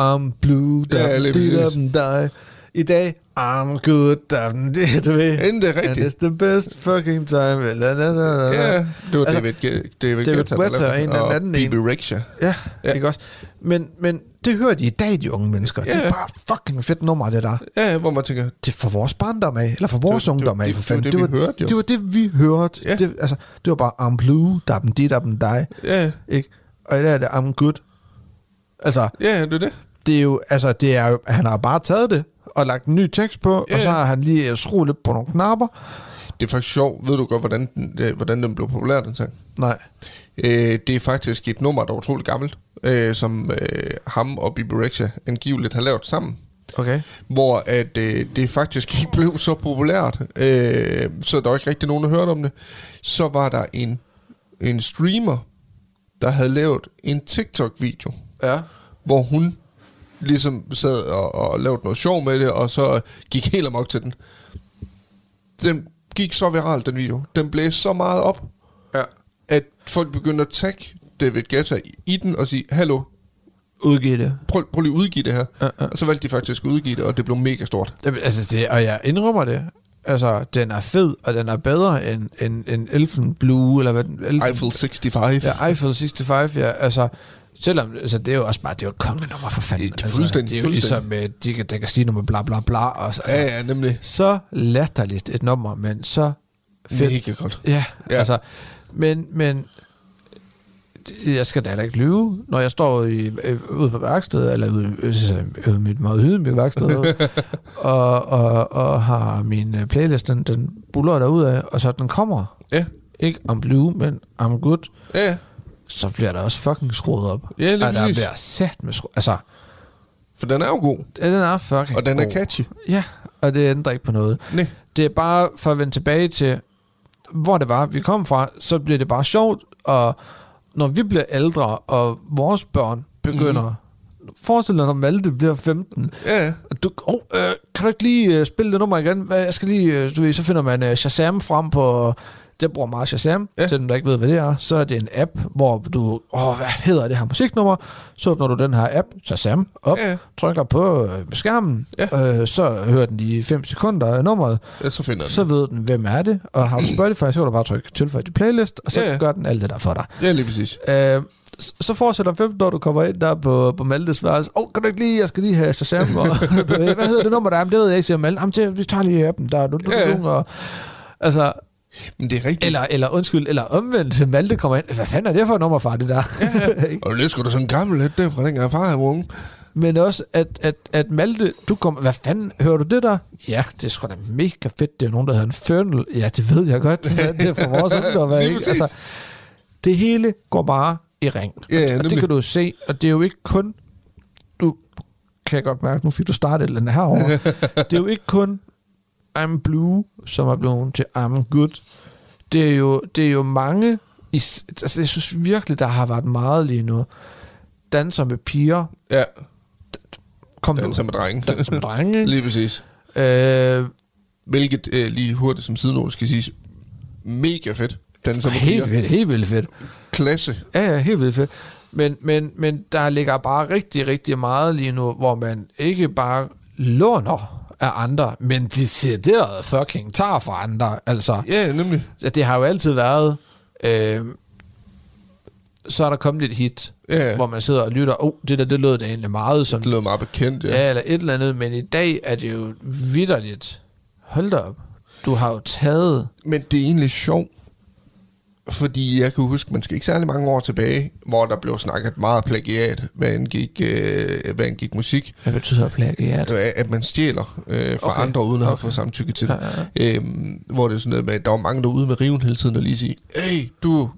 I'm Blue, da,
Ja,
ja,
lige
di, da,
præcis.
da, I dag, I'm good, da, di, du ved.
End det er
And
rigtigt.
it's the best fucking time. La, la, la, la, la.
Ja, det var
Altså,
David, Ge- David,
David
Guetta, der
Guetta
lavede
og en
den,
eller anden en.
BB Rexha.
Ja,
Ja.
ja. ikke også? Men, men det hører de i dag, de unge mennesker. Ja. Det
Ja.
er bare et fucking fedt nummer, det der.
Ja, hvor man tænker,
Det er for vores barndom af, eller for vores
det var-
ungdom af,
det-
for
det
fanden.
var det, vi
var,
hørte, jo.
det var det, vi hørte.
Ja.
Det, altså, det var bare, I'm blue, der er dem dit, der er dem dig.
ja,
Ikke? Og i dag er det, I'm good. Altså,
ja, det er det.
det er jo, altså, det er jo, han har bare taget det, og lagt en ny tekst på,
Ja,
og så
ja.
har han lige øh, skruet lidt på nogle knapper.
Det er faktisk sjovt. Ved du godt, hvordan den, øh, hvordan den blev populær, den sang?
Nej.
Øh, det er faktisk et nummer, der er utroligt gammelt, øh, som øh, ham og Bibi Rexha angiveligt har lavet sammen.
Okay.
Hvor at, øh, det faktisk ikke blev så populært, øh, så der var ikke rigtig nogen, der hørte om det. Så var der en, en streamer, der havde lavet en TikTok-video,
Ja.
hvor hun ligesom sad og, og lavede noget sjov med det, og så gik helt amok til den. Den gik så viralt, den video. Den blæste så meget op,
Ja.
at folk begyndte at tagge David Guetta i- i den og sige, hallo,
Udgiv det.
prøv, prøv lige at udgive det her.
Ja, ja.
Og så valgte de faktisk at udgive det, og det blev mega stort.
Jamen, altså det, og jeg indrømmer det. Altså, den er fed, og den er bedre end, end, end Elfen Blue, eller hvad den... Elfen,
Eiffel 65.
Ja, Eiffel 65, ja. Altså, selvom, altså, det er jo også bare, det er jo et kongenummer for fanden.
Det er
altså,
fuldstændig,
det er jo ligesom,
fuldstændig.
øh, de kan, der kan sige nummer bla bla bla, og så, altså,
ja, ja, nemlig.
så latterligt et nummer, men så fedt.
Mega godt.
Ja, ja,
Ja.
altså, men, men det- jeg skal da heller ikke lyve, når jeg står i, øh, ude på værkstedet, eller ude, øh, ude mit meget ydmyge værksted, og, og, og har min øh, playlist, den, den buller derudad, og så den kommer,
Ja,
ikke om blue, men om good,
ja, ja.
så bliver der også fucking skruet op.
Ja, lige
og der
præcis.
bliver sat med skru... Altså,
for den er jo god,
ja, den er fucking
og den er
god.
catchy.
Ja, og det ændrer ikke på noget.
Nej.
Det er bare for at vende tilbage til, hvor det var, vi kom fra, så bliver det bare sjovt, og når vi bliver ældre, og vores børn begynder... Mm-hmm. Forestil dig, når Malte bliver 15,
Ja, ja.
og du, oh, øh, kan du ikke lige øh, spille det nummer igen? Hvad, jeg skal lige, øh, du ved, så finder man øh, Shazam frem på... Jeg bruger meget Shazam, ja.
Ja.
til dem, der ikke ved, hvad det er. Så er det en app, hvor du... Åh, oh, hvad hedder det her musiknummer? Så åbner du den her app, Shazam, op, ja.
Ja.
trykker på øh, skærmen, ja. øh, så hører den i 5 sekunder af nummeret,
ja så finder den.
så ved den, hvem er det, og har du Spotify, så kan du bare trykke tilføj til playlist, og så ja,
Ja,
ja.
ja.
gør den alt det der for dig.
Ja, lige præcis.
Øh, s- så fortsætter 15 år, du kommer ind der på, på Maltes værelse. Åh, oh, kan du ikke lige, jeg skal lige have Shazam. Og, du ved, hvad hedder det nummer der? Jamen, det ved jeg ikke, siger Malte. Jamen, det, vi tager lige appen der. Du, du,
Ja.
du, og, altså,
Men det er rigtigt.
eller, eller undskyld, eller omvendt, Malte kommer ind. Hvad fanden er det for et nummer, far, det der? Ikke?
Og det er sgu da sådan en gammel lidt der fra dengang far var unge.
Men også, at, at, at Malte, du kommer, hvad fanden, hører du det der? Ja, det er sgu da mega fedt, det er nogen, der hedder en Fernal. Ja, det ved jeg godt, Hvad er det er for vores ungdom,
Lige
ikke?
præcis.
Altså, det hele går bare i ring.
Ja, ja,
og det
nemlig.
kan du jo se, og det er jo ikke kun, du kan jeg godt mærke, nu fik du startet den herovre, det er jo ikke kun I'm Blue, som er blevet til I'm Good. Det er jo, det er jo mange, is- altså jeg synes virkelig, der har været meget lige nu, danser med piger,
Ja,
kom nu.
den som er drenge.
Den som drenge. ikke?
lige præcis.
øh,
Hvilket øh, lige hurtigt som siden skal siges, mega fedt. Den som
som
er
helt
piger.
vildt, helt vildt fedt.
klasse.
Ja, ja, helt vildt fedt. Men, men, men der ligger bare rigtig, rigtig meget lige nu, hvor man ikke bare låner af andre, men decideret fucking tager fra andre. Altså,
Ja, nemlig.
ja. det har jo altid været... Øh, så er der kommet et hit,
Ja.
hvor man sidder og lytter, oh, det der, det lød da egentlig meget som...
Det lyder meget bekendt, ja.
Ja, eller et eller andet, men i dag er det jo vidderligt. Hold da op. Du har jo taget...
Men det er egentlig sjovt, fordi jeg kan huske, man skal ikke særlig mange år tilbage, hvor der blev snakket meget plagiat, hvad angik, øh, hvad angik musik.
Hvad betyder plagiat?
Altså, At at man stjæler øh, fra
Okay.
okay. andre, uden at have
Okay.
fået samtykke til
Ja,
det. Ja, ja. Øhm, hvor det er sådan noget med, at der var mange derude med riven hele tiden og lige sige, hey, du,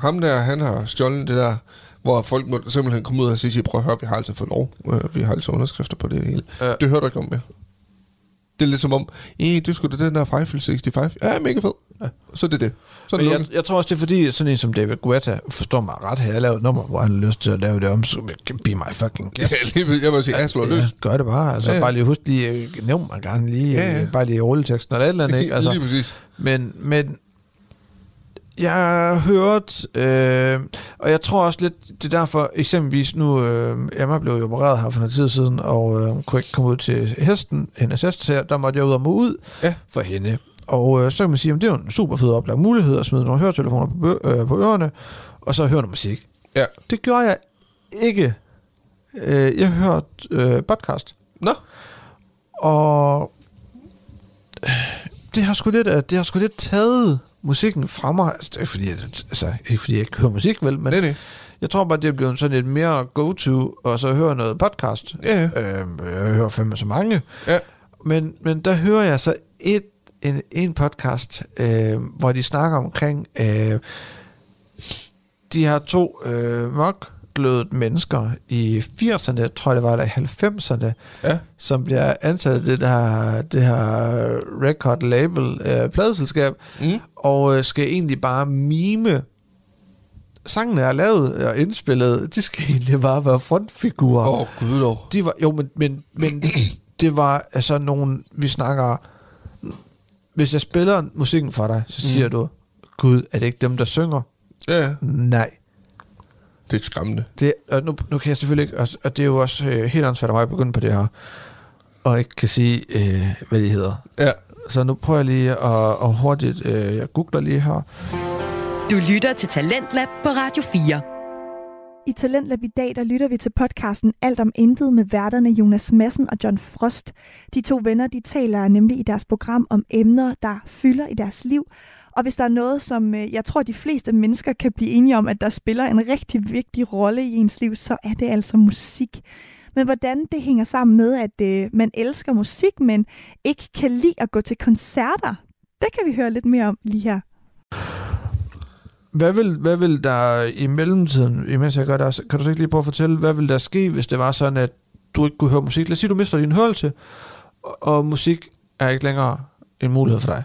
ham der, han har stjålet det der, hvor folk måtte simpelthen komme ud og sige, prøv at høre, vi har altså fået lov, Øh, vi har altså underskrifter på det hele.
Ja.
Ja. Det hører du ikke om mere. Det er lidt som om, hey, du skulle da den der fra Eiffel 65. Ja, mega fed. Ja. Så er det det. Så er det
Men jeg,
lukket.
jeg tror også, det er fordi, sådan en som David Guetta, forstår mig ret, har jeg lavet et nummer, hvor han har lyst til at lave det om, så be my fucking
Ja,
guest.
lige ved- jeg vil sige, jeg slår løs.
gør det bare. Altså, ja,
Ja,
ja.
ja.
bare lige husk lige, øh, nævn mig gerne lige, ja,
Ja, ja.
ja. bare lige i rulleteksten eller et eller andet, ikke? Altså,
Lige præcis.
Men, men jeg har hørt, øh, og jeg tror også lidt, det er derfor, eksempelvis nu, øh, Emma blev jo opereret her for noget tid siden, og øh, hun kunne ikke komme ud til hesten, hendes hest her, der måtte jeg ud og må ud
Ja.
for hende. Og øh, så kan man sige, at det er jo en super fed oplagt mulighed at smide nogle høretelefoner på, bø- øh, på ørerne, og så høre noget musik.
Ja.
Det gjorde jeg ikke. Øh, jeg hørte øh, podcast.
Nå,
Og det har sgu lidt, øh, det har sgu lidt taget musikken fra mig. Altså, det er ikke fordi, jeg, altså, ikke fordi jeg ikke hører musik, vel? Men
nej, nej.
Jeg tror bare, det er blevet sådan lidt mere go-to, og så høre noget podcast.
Ja,
Øhm, jeg hører fandme så mange.
Ja.
Men, men der hører jeg så et, en, en podcast, øh, hvor de snakker omkring, øh, de har to øh, mørkglødet mennesker i 80'erne, tror jeg det var, eller i 90'erne,
Ja.
som bliver ansat i det her, det her record label øh, pladeselskab,
Mm.
og øh, skal egentlig bare mime sangene er lavet og indspillet, de skal egentlig bare være frontfigurer.
Åh, oh, gud dog.
De var, jo, men, men, men det var altså nogle, vi snakker, hvis jeg spiller musikken for dig, så siger mm. du, Gud, er det ikke dem, der synger?
Ja, ja.
Nej.
det er skræmmende.
Det, og nu, nu kan jeg selvfølgelig ikke, og, og det er jo også øh, helt ansvaret af mig at begynde på det her, og ikke kan sige, øh, hvad de hedder.
Ja.
Så nu prøver jeg lige at, at hurtigt, øh, jeg googler lige her.
Du lytter til Talentlab på Radio 4.
I Talentlab i dag, der lytter vi til podcasten Alt om Intet med værterne Jonas Madsen og John Frost. De to venner, de taler nemlig i deres program om emner, der fylder i deres liv. Og hvis der er noget, som øh, jeg tror, de fleste mennesker kan blive enige om, at der spiller en rigtig vigtig rolle i ens liv, så er det altså musik. Men hvordan det hænger sammen med, at øh, man elsker musik, men ikke kan lide at gå til koncerter, det kan vi høre lidt mere om lige her.
Hvad vil, hvad vil der i mellemtiden, imens jeg gør det, kan du så ikke lige prøve at fortælle, hvad vil der ske, hvis det var sådan, at du ikke kunne høre musik? Lad os sige, du mister din hørelse, og, og musik er ikke længere en mulighed for dig.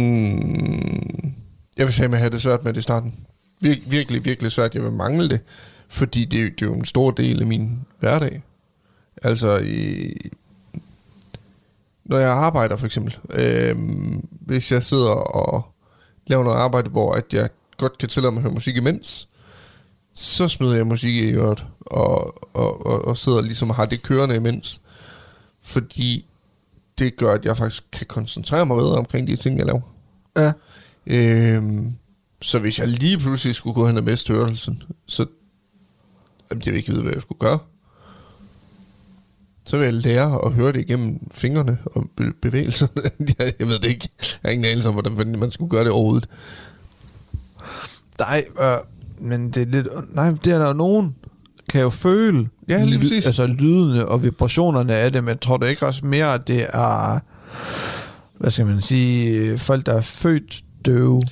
Mm. Jeg vil sige, at jeg havde det svært med det i starten. Vir- virkelig, virkelig svært. Jeg vil mangle det, fordi det, er- det er jo en stor del af min hverdag. Altså, i, når jeg arbejder for eksempel, øh, hvis jeg sidder og laver noget arbejde, hvor at jeg godt kan tillade mig at høre musik imens, så smider jeg musik i øret og, og, og, og sidder ligesom og har det kørende imens. Fordi det gør, at jeg faktisk kan koncentrere mig bedre omkring de ting, jeg laver.
Ja.
Øhm, så hvis jeg lige pludselig skulle gå hen og miste hørelsen, så jamen, jeg vil ikke vide, hvad jeg skulle gøre. Så vil jeg lære at høre det igennem fingrene og be- bevægelserne. jeg, jeg ved det ikke. Jeg har ingen anelse om, hvordan fanden man skulle gøre det overhovedet.
Nej, øh, men det er lidt... Nej, det er der jo nogen, kan jo føle
Ja, lige
ly-
præcis.
altså lydene og vibrationerne af det, men tror du ikke også mere, at det er, hvad skal man sige, øh, folk, der er født døve?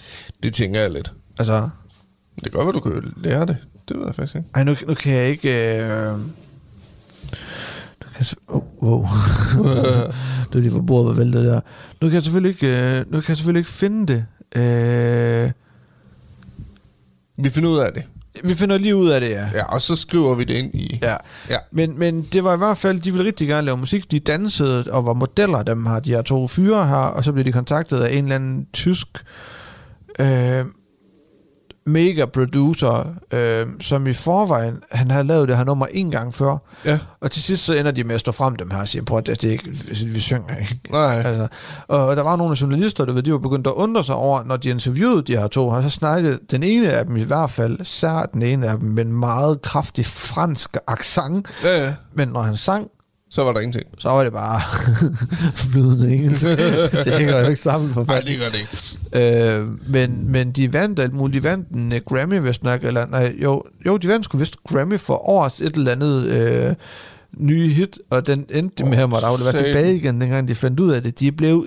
Det tænker jeg lidt.
Altså,
Det kan godt være, du kan lære det. Det ved jeg faktisk ikke.
Ej, nu, nu kan jeg ikke... Øh... Nu kan jeg, se- oh, wow. det var lige for bordet, var væltet der. Nu kan jeg selvfølgelig ikke, øh... nu kan jeg selvfølgelig ikke finde det. Øh...
Vi finder ud af det.
Vi finder lige ud af det, ja.
Ja, og så skriver vi det ind i...
ja.
Ja.
Men, men det var i hvert fald, de ville rigtig gerne lave musik. De dansede og var modeller, dem har de her to fyre her, og så blev de kontaktet af en eller anden tysk øh, mega producer, øh, som i forvejen, han havde lavet det her nummer en gang før,
ja.
Og til sidst så ender de med at stå frem dem her og sige, prøv at det, det er ikke, altså, vi, vi synger ikke.
Nej.
Altså, og der var nogle af journalister, der, de var begyndt at undre sig over, når de interviewede de her to, og så snakkede den ene af dem i hvert fald, sær den ene af dem, med en meget kraftig fransk accent,
Ja, ja.
men når han sang,
Så var der ingenting.
så var det bare flydende engelsk. det hænger jo ikke sammen for
Nej,
fanden.
det gør det ikke.
Øh, men, men de vandt alt muligt. De vandt en uh, Grammy, hvis nok, eller nej, jo, jo, de vandt sgu vist Grammy for årets et eller andet øh, nye hit, og den endte oh, med ham, og der ville være
satan.
tilbage igen, dengang de fandt ud af det. De blev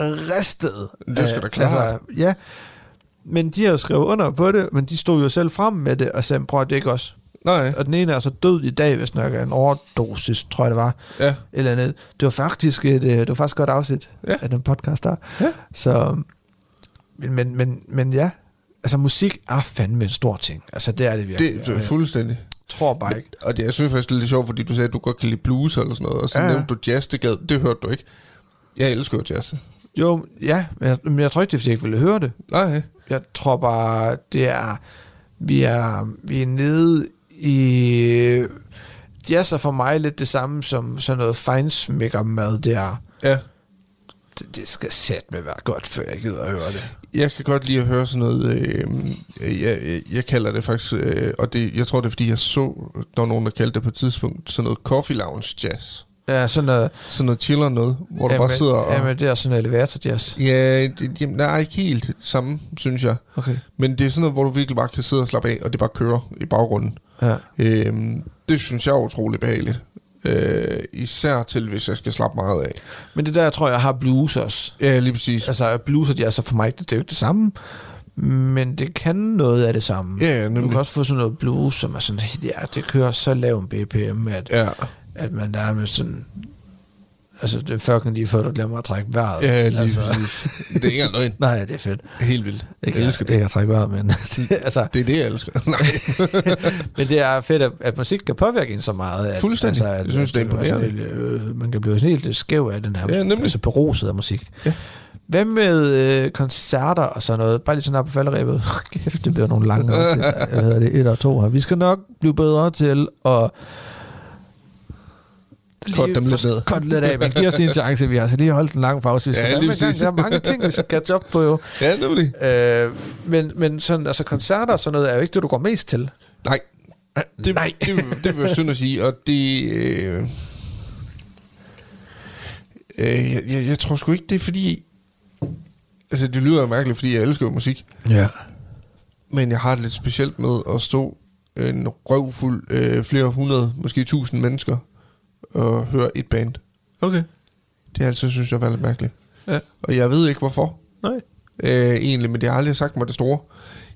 ristet. altså,
Det er sgu da klart.
ja, men de har jo skrevet under på det, men de stod jo selv frem med det, og sagde, prøv at det er ikke også.
Nej.
Og den ene er så død i dag, hvis nok er en overdosis, tror jeg det var
Ja.
eller andet. Det var faktisk et, øh, det var faktisk et godt afsnit
Ja.
ja. af den podcast der.
Ja.
Så, men, men, men, men ja, altså musik er fandme en stor ting. Altså det er det virkelig.
Det
Og
er
jeg
fuldstændig.
tror bare ikke.
Og det, jeg synes faktisk, det er lidt sjovt, fordi du sagde, at du godt kan lide blues eller sådan noget, og så
Ja,
ja.
ja.
nævnte du jazz, det, gad, det hørte du ikke. Jeg elsker jo jazz.
Jo, ja, men jeg, men jeg tror ikke, det er, fordi jeg ikke ville høre det.
Nej,
Jeg tror bare, det er, vi er, vi er nede i... Jazz er for mig lidt det samme som sådan noget fejnsmækker mad, det er.
ja.
Det, det skal satme være godt, før jeg gider at høre det.
Jeg kan godt lide at høre sådan noget, øh, øh, jeg, jeg- jeg kalder det faktisk, øh, og det, jeg tror det er fordi, jeg så, der var nogen, der kaldte det på et tidspunkt, sådan noget coffee lounge jazz.
Ja, sådan noget,
Sådan noget chiller noget, hvor du
jamen,
bare sidder og...
Jamen, det er sådan noget elevator jazz.
Ja, det, jamen, nej, ikke helt det samme, synes jeg.
Okay.
Men det er sådan noget, hvor du virkelig bare kan sidde og slappe af, og det bare kører i baggrunden.
Ja.
Øhm, det synes jeg er utrolig behageligt. Øh, især til, hvis jeg skal slappe meget af.
Men det der, jeg tror, jeg har blues også.
Ja, lige præcis.
Altså, blues og jazz er for mig, det, det er jo ikke det samme. Men det kan noget af det samme.
Ja, ja,
du kan
nemlig.
også få sådan noget blues, som er sådan, ja, det kører så lav en BPM, at,
Ja,
at man der med sådan... Altså, det er fucking lige før, du glemmer at trække vejret.
ja lige
altså,
præcis. Det er ikke engang løgn.
Nej, det er fedt.
Helt vildt.
Ikke,
jeg elsker det.
Ikke at trække vejret, men... altså,
Det er det, jeg elsker. Nej.
Men det er fedt, at, at musik kan påvirke en så meget. At, altså,
Fuldstændig.
at,
Jeg synes, det er
at man kan være sådan helt, øh, man kan blive sådan helt skæv af den her.
Ja, nemlig.
Altså beruset af musik.
Ja.
Hvad med øh, koncerter og sådan noget? Bare lige sådan her på falderæbet. Kæft, det bliver nogle lange afsnit. Hvad hedder det? Et og to her. Vi skal nok blive bedre til at...
Kort
lige
dem lidt
få-
ned.
Kort lidt af, men giv os lige en chance. Vi har så lige holdt en lang pause. Vi skal
Ja,
ja,
lige
lige gang.
præcis.
Der er mange ting, vi skal catch up på jo.
ja, nemlig.
Øh, men, men sådan, altså koncerter og sådan noget er jo ikke det, du går mest til.
Nej. Det,
Nej.
det, det, det vil jeg synd at sige, og det... Øh, øh, jeg, jeg, jeg tror sgu ikke, det er fordi... Altså, det lyder jo mærkeligt, fordi jeg elsker jo musik,
Ja.
men jeg har det lidt specielt med at stå en røvfuld øh, flere hundrede, måske tusind mennesker og høre et band.
Okay.
Det har jeg altid synes jeg var lidt mærkeligt.
Ja.
Og jeg ved ikke, hvorfor.
Nej.
øh, egentlig, men det har aldrig sagt mig det store.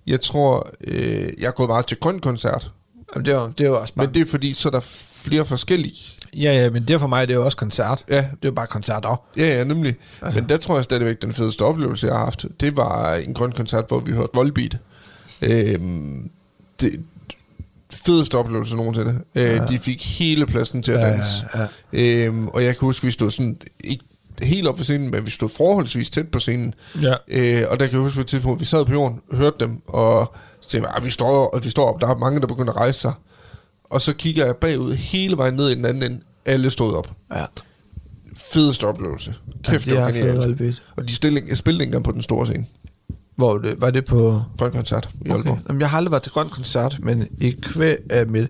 Jeg tror, øh, jeg er gået meget til grøn koncert,
Jamen, det er jo, det er jo også bare...
men det er fordi, så er der flere forskellige.
ja, ja, men det er for mig, det er jo også koncert.
Ja.
Det er jo bare koncerter.
Ja, ja, nemlig. Altså. Men der tror jeg stadigvæk, den fedeste oplevelse, jeg har haft, det var en grøn koncert, hvor vi hørte Volbeat. Øh, det fedeste oplevelse nogensinde. Øh, ja. De fik hele pladsen til at
Ja,
danse.
øh, ja,
Øhm, og jeg kan huske, vi stod sådan, ikke helt op på scenen, men vi stod forholdsvis tæt på scenen.
Ja.
Øh, og der kan jeg huske på et tidspunkt, vi sad på jorden, hørte dem, og så tænkte jeg, "Ah, vi står, og vi står op, der er mange, der begynder at rejse sig. Og så kigger jeg bagud hele vejen ned i den anden ende, alle stod op.
Ja.
Fedeste oplevelse. Kæft,
Ja,
ja, det
det
var
er fed
genialt.
Volbeat.
Og de stilling, jeg spillede ikke engang på den store scene.
Hvor det, var det på...
Grøn koncert i
Okay.
Aalborg.
Jamen, jeg har aldrig været til grøn koncert, men i kvæg af mit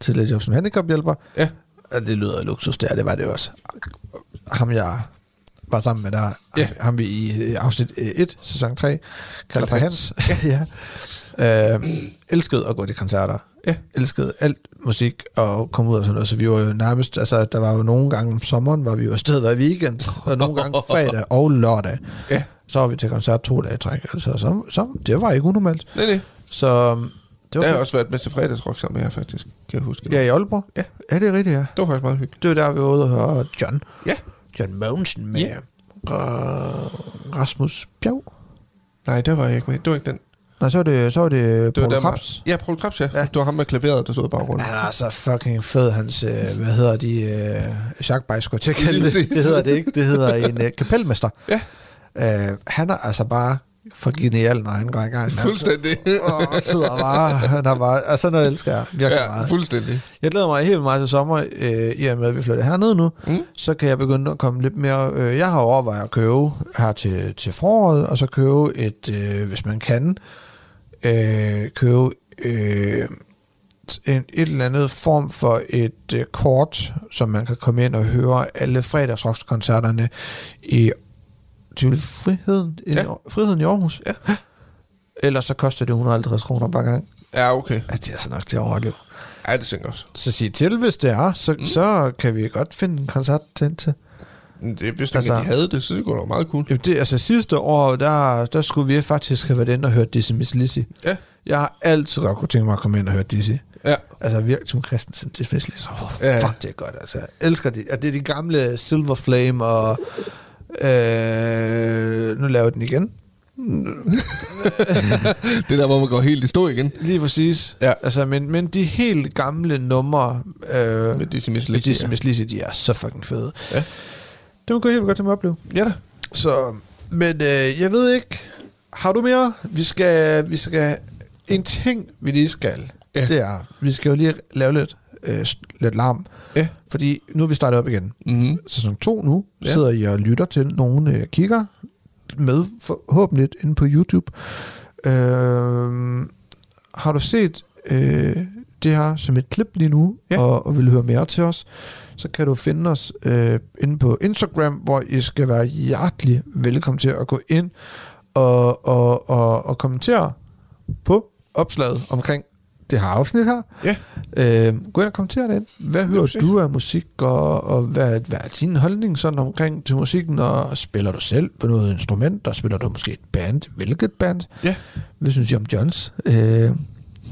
tidligere job som handicaphjælper,
Ja.
og det lyder luksus der, det var det også. Ham jeg var sammen med der, ham,
Ja.
ham vi i øh, afsnit 1, sæson 3, kalder for Hans. ja. øh, elskede at gå til koncerter.
Ja.
Elskede alt musik og komme ud og sådan noget. Så vi var jo nærmest, altså der var jo nogle gange om sommeren, var vi jo afsted hver weekend, og nogle gange fredag og lørdag.
Ja.
Så var vi til koncert to dage i træk. Altså, så, så, det var ikke unormalt.
Nej, nej.
Så øhm, det
Der
var
har jeg
fedt.
også været med til fredagsrock sammen med jer, faktisk. Kan jeg huske.
Ja, i Aalborg.
Ja.
ja det er rigtigt, ja.
Det var faktisk meget hyggeligt.
Det var der, vi var ude og høre John.
Ja.
John Mogensen med
Ja.
og Rasmus Bjerg.
Nej, der var jeg ikke med. Det var ikke den.
Nej, så var det, så var det,
Det
det
var
Paul
dem-
Krabs.
Ja, Paul Krabs, ja.
Ja.
ja. Det var ham med klaveret, der stod i baggrunden.
Han er så fucking fed, hans, øh, hvad hedder de, øh, Jacques Bay, skulle jeg til at kalde det.
Lige præcis.
Det hedder det ikke, det hedder en øh, kapelmester.
Ja.
Øh, han er altså bare for genial, når han går i gang. Altså.
Fuldstændig.
Og sidder bare, han er bare, altså sådan noget elsker jeg virkelig
ja,
meget.
fuldstændig.
Jeg glæder mig helt meget til sommer, øh, i og med, at vi flytter herned nu.
Mm.
Så kan jeg begynde at komme lidt mere... Øh, jeg har overvejet at købe her til, til foråret, og så købe et, øh, hvis man kan, øh, købe øh, en, et eller andet form for et øh, kort, som man kan komme ind og høre alle fredagsrockskoncerterne i til friheden, i, ja.
Ja.
friheden i Aarhus.
Ja.
Ellers så koster det 150 kroner per gang.
Ja, okay.
Altså, det er så nok til at overleve.
Ja, det tænker jeg også.
Så sig til, hvis det er, så, mm. så kan vi godt finde en koncert til. til.
Men Det, hvis
Altså-
altså, de havde det, så det kunne da være meget cool.
Jamen, Det, altså sidste år, der, der skulle vi faktisk have været inde og hørt Dizzy Miss Lizzy.
Ja.
Jeg har altid godt kunne tænke mig at komme ind og høre Dizzy.
Ja.
Altså virkelig som Christensen, Dizzy Miss Lizzy. Oh,
Ja.
fuck, det er godt, altså. Jeg elsker det. Og det er de gamle Silver Flame og... Øh, nu laver jeg den igen.
Det er der, hvor man går helt i stå igen.
Lige præcis.
Ja.
Altså, men, men de helt gamle numre... Øh,
Med Dizzy Miss
med
Lizzy,
Dizzy
ja.
Miss Lizzy, de er så fucking fede.
Ja.
Det må gå helt godt til at opleve.
Ja da.
Så, men øh, jeg ved ikke, har du mere? Vi skal, vi skal, en ting vi lige skal, ja.
Ja.
det er, vi skal jo lige lave lidt, øh, s- lidt larm.
Ja.
Fordi nu er vi startet op igen.
Mm-hmm.
Sæson 2 nu, ja.
Ja.
sidder jeg og lytter til nogle øh, kigger med forhåbentlig Øhm, inde på YouTube. Øh, har du set øh, det her som et klip lige nu,
Ja.
ja. og, og vil høre mere til os, så kan du finde os øh, inde på Instagram, hvor I skal være hjertelig velkommen til at gå ind og, og, og, og kommentere på opslaget omkring det her afsnit her.
Ja.
Øh, gå ind og kommenter derinde. Hvad hører
præcis.
du af musik, og, og hvad, hvad er din holdning sådan omkring til musikken, og spiller du selv på noget instrument, og spiller du måske et band? Hvilket band?
Ja.
Hvad synes I om Johns øh,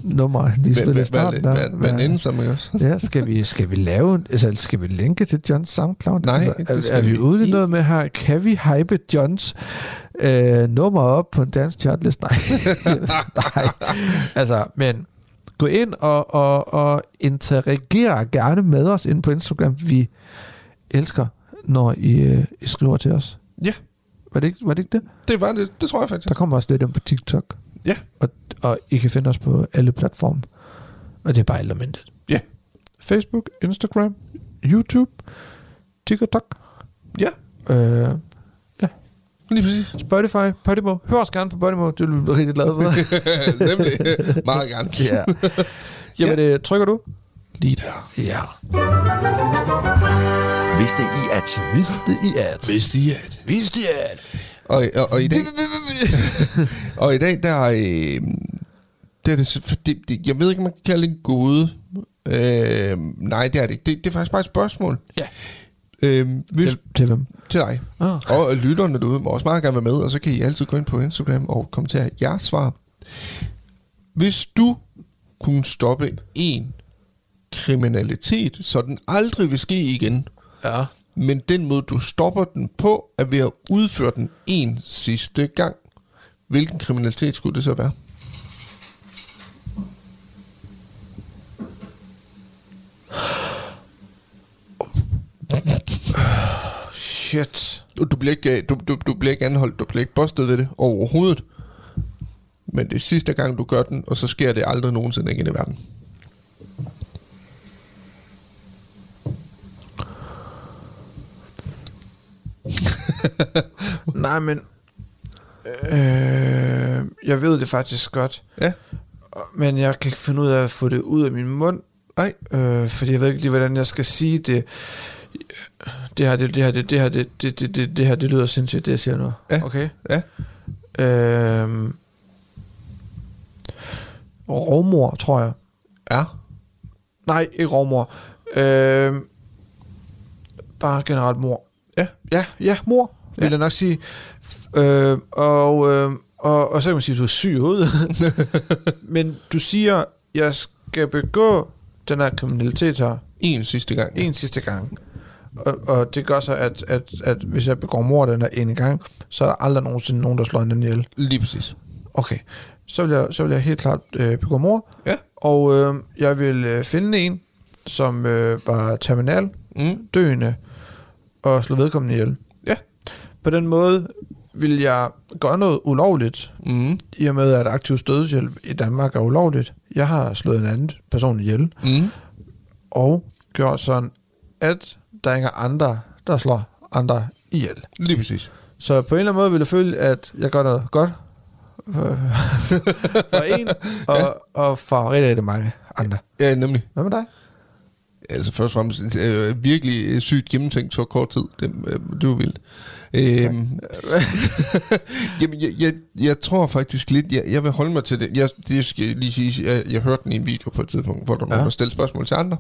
nummer, de spillede i starten? der? Hvad-
Hvad som ikke også?
Ja, skal vi, skal vi lave, en- altså skal vi linke til Johns SoundCloud?
Nej, det
altså, er,
skal
er vi
vi
ude i
ikke.
noget med her, kan vi hype Johns øh, nummer op på en dansk chartlist? Nej, nej. Altså, men gå ind og, og, og interagere gerne med os ind på Instagram. Vi elsker, når I, øh, I skriver til os.
Ja,
Var det, ikke, var det ikke det?
det var det. Det tror jeg faktisk.
Der kommer også lidt om på TikTok.
Ja.
Og, og I kan finde os på alle platforme. Og det er bare alt om intet.
Ja.
Facebook, Instagram, YouTube, TikTok,
Ja,
øh,
lige præcis.
Spotify, Podimo. Hør os gerne på Podimo, det vil vi blive rigtig glade for.
Nemlig. Meget gerne.
ja. Jamen, øh, trykker du?
Lige der.
Ja.
Vidste I at...
Vidste I at?
Hvis de er det.
Vidste I at?
Og, og, og i dag... og i dag, der er... Øh, det er det, så- for det, det, jeg ved ikke, om man kan kalde det en gåde. Øh, nej, det er det ikke. Det, det er faktisk bare et spørgsmål.
Ja.
Øh, hvis,
Til, til hvem?
til dig.
Ah.
Og lytterne derude må også meget gerne være med, og så kan I altid gå ind på Instagram og kommentere jeres svar. Hvis du kunne stoppe en kriminalitet, så den aldrig vil ske igen,
Ja.
men den måde, du stopper den på, er ved at udføre den en sidste gang. Hvilken kriminalitet skulle det så være?
Shit.
Du, du, bliver, ikke, øh, du, du, du bliver ikke anholdt, du bliver ikke bustet ved det overhovedet. Men det er sidste gang, du gør den, og så sker det aldrig nogensinde igen i verden.
Nej, men... Øh, jeg ved det faktisk godt.
Ja,
Men jeg kan ikke finde ud af at få det ud af min mund.
nej,
Øh, fordi jeg ved ikke lige, hvordan jeg skal sige det. Det her, det, det her, det, det her, det, det, det, det, det her, det lyder sindssygt, det jeg siger nu.
Ja.
Okay?
ja.
Øh, rovmor, tror jeg.
Ja.
Nej, ikke rovmor. Øh, bare generelt mor.
Ja.
Ja, ja, mor, vil
Ja.
jeg nok sige. F- Øh, og, øh, og, og så kan man sige, at du er syg i hovedet. Men du siger, jeg skal begå den her kriminalitet her.
En sidste gang.
en sidste gang. Og, og det gør så, at, at, at hvis jeg begår mord den her ene gang, så er der aldrig nogensinde nogen, der slår en anden ihjel.
Lige præcis.
Okay, så vil jeg, så vil jeg helt klart øh, begå mord.
Ja.
Og øh, jeg vil øh, finde en, som øh, var terminal,
Mm.
døende, og slå vedkommende ihjel.
Ja.
På den måde vil jeg gøre noget ulovligt,
Mm.
i og med at aktiv stødshjælp i Danmark er ulovligt. Jeg har slået en anden person ihjel,
Mm.
og gjort sådan, at der ikke er andre, der slår andre ihjel.
Lige præcis.
Så på en eller anden måde vil jeg føle, at jeg gør noget godt øh, for en, og, og for rigtig, rigtig mange andre.
Ja, nemlig.
Hvad med dig?
Altså først og fremmest øh, virkelig øh, sygt gennemtænkt så kort tid. Det, øh, det var vildt. Øhm, jamen, jeg, jeg, jeg tror faktisk lidt, jeg, jeg vil holde mig til det. Jeg, det skal jeg lige sige, jeg, jeg hørte den i en video på et tidspunkt, hvor der var
Ja.
ja. stille spørgsmål til andre.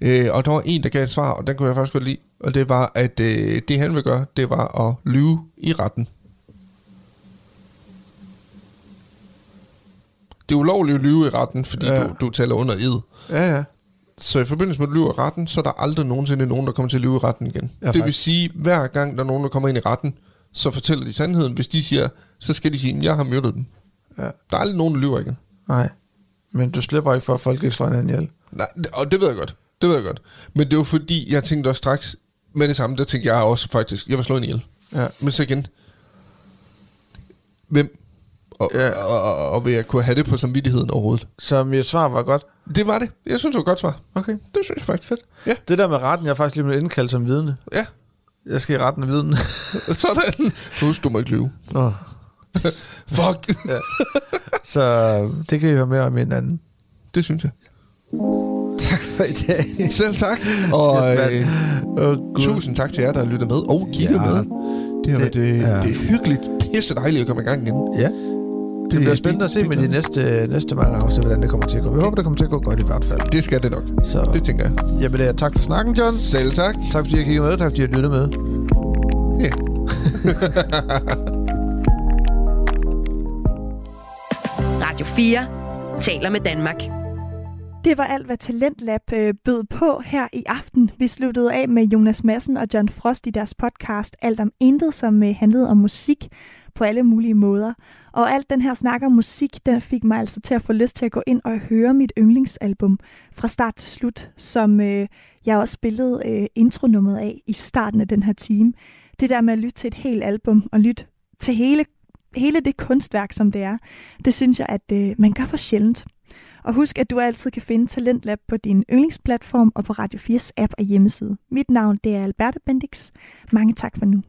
Øh, og der var en, der gav et svar, og den kunne jeg faktisk godt lide. Og det var, at øh, det han ville gøre, det var at lyve i retten. Det er ulovligt at lyve i retten, fordi
Ja.
ja. du, du taler under ed.
Ja, ja.
Så i forbindelse med at lyve i retten, så er der aldrig nogensinde nogen, der kommer til at lyve i retten igen. Ja, det
Ja, faktisk.
vil sige, hver gang der er nogen, der kommer ind i retten, så fortæller de sandheden. Hvis de siger, så skal de sige, at jeg har myrdet dem.
Ja.
Der er aldrig nogen, der lyver igen.
Nej. Men du slipper ikke for, at folk ikke slår hinanden ihjel.
Nej, og det ved jeg godt. Det ved jeg godt. Men det var fordi, jeg tænkte også straks med det samme, der tænkte jeg også faktisk, jeg var slået en ihjel.
Ja.
Men så igen, hvem? Og,
Ja.
ja. og, og, og vil jeg kunne have det på samvittigheden overhovedet?
Så mit svar var godt.
Det var det. Jeg synes, det var et godt svar.
Okay.
Det synes jeg faktisk fedt. Ja,
Det der med retten, jeg er faktisk lige blevet indkaldt som vidne.
ja.
Jeg skal i retten af vidne.
Sådan. Husk, du må ikke lyve.
Nå.
Fuck.
Så øh, det kan I høre mere om i en anden.
Det synes jeg.
Tak for i dag.
Selv tak. Og
Shit,
øh,
Oh,
tusind tak til jer, der lytter med og kigger
Ja,
ja, med. Det, har
det
det, været, øh,
er-
det er hyggeligt. Pisse dejligt at komme i gang igen.
Ja. Det,
Det-
bliver spændende at se
det-
med
det-
de næste, næste mange afsnit, hvordan det kommer til at gå. Vi håber, det kommer til at gå godt i hvert fald.
Det skal det nok.
Så
Det tænker jeg.
jamen, øh, tak for snakken, John.
Selv tak.
Tak fordi I kiggede med. Tak fordi I lyttede med.
Ja. Yeah.
Radio 4 taler med Danmark.
Det var alt, hvad Talentlab øh, bød på her i aften. Vi sluttede af med Jonas Madsen og John Frost i deres podcast Alt om Intet, som øh, handlede om musik på alle mulige måder. Og alt den her snak om musik, den fik mig altså til at få lyst til at gå ind og høre mit yndlingsalbum fra start til slut, som øh, jeg også spillede øh, intronummeret af i starten af den her time. Det der med at lytte til et helt album og lytte til hele, hele det kunstværk, som det er, det synes jeg, at øh, man gør for sjældent. Og husk, at du altid kan finde Talentlab på din yndlingsplatform og på Radio 4's app og hjemmeside. Mit navn det er Alberte Bendix. Mange tak for nu.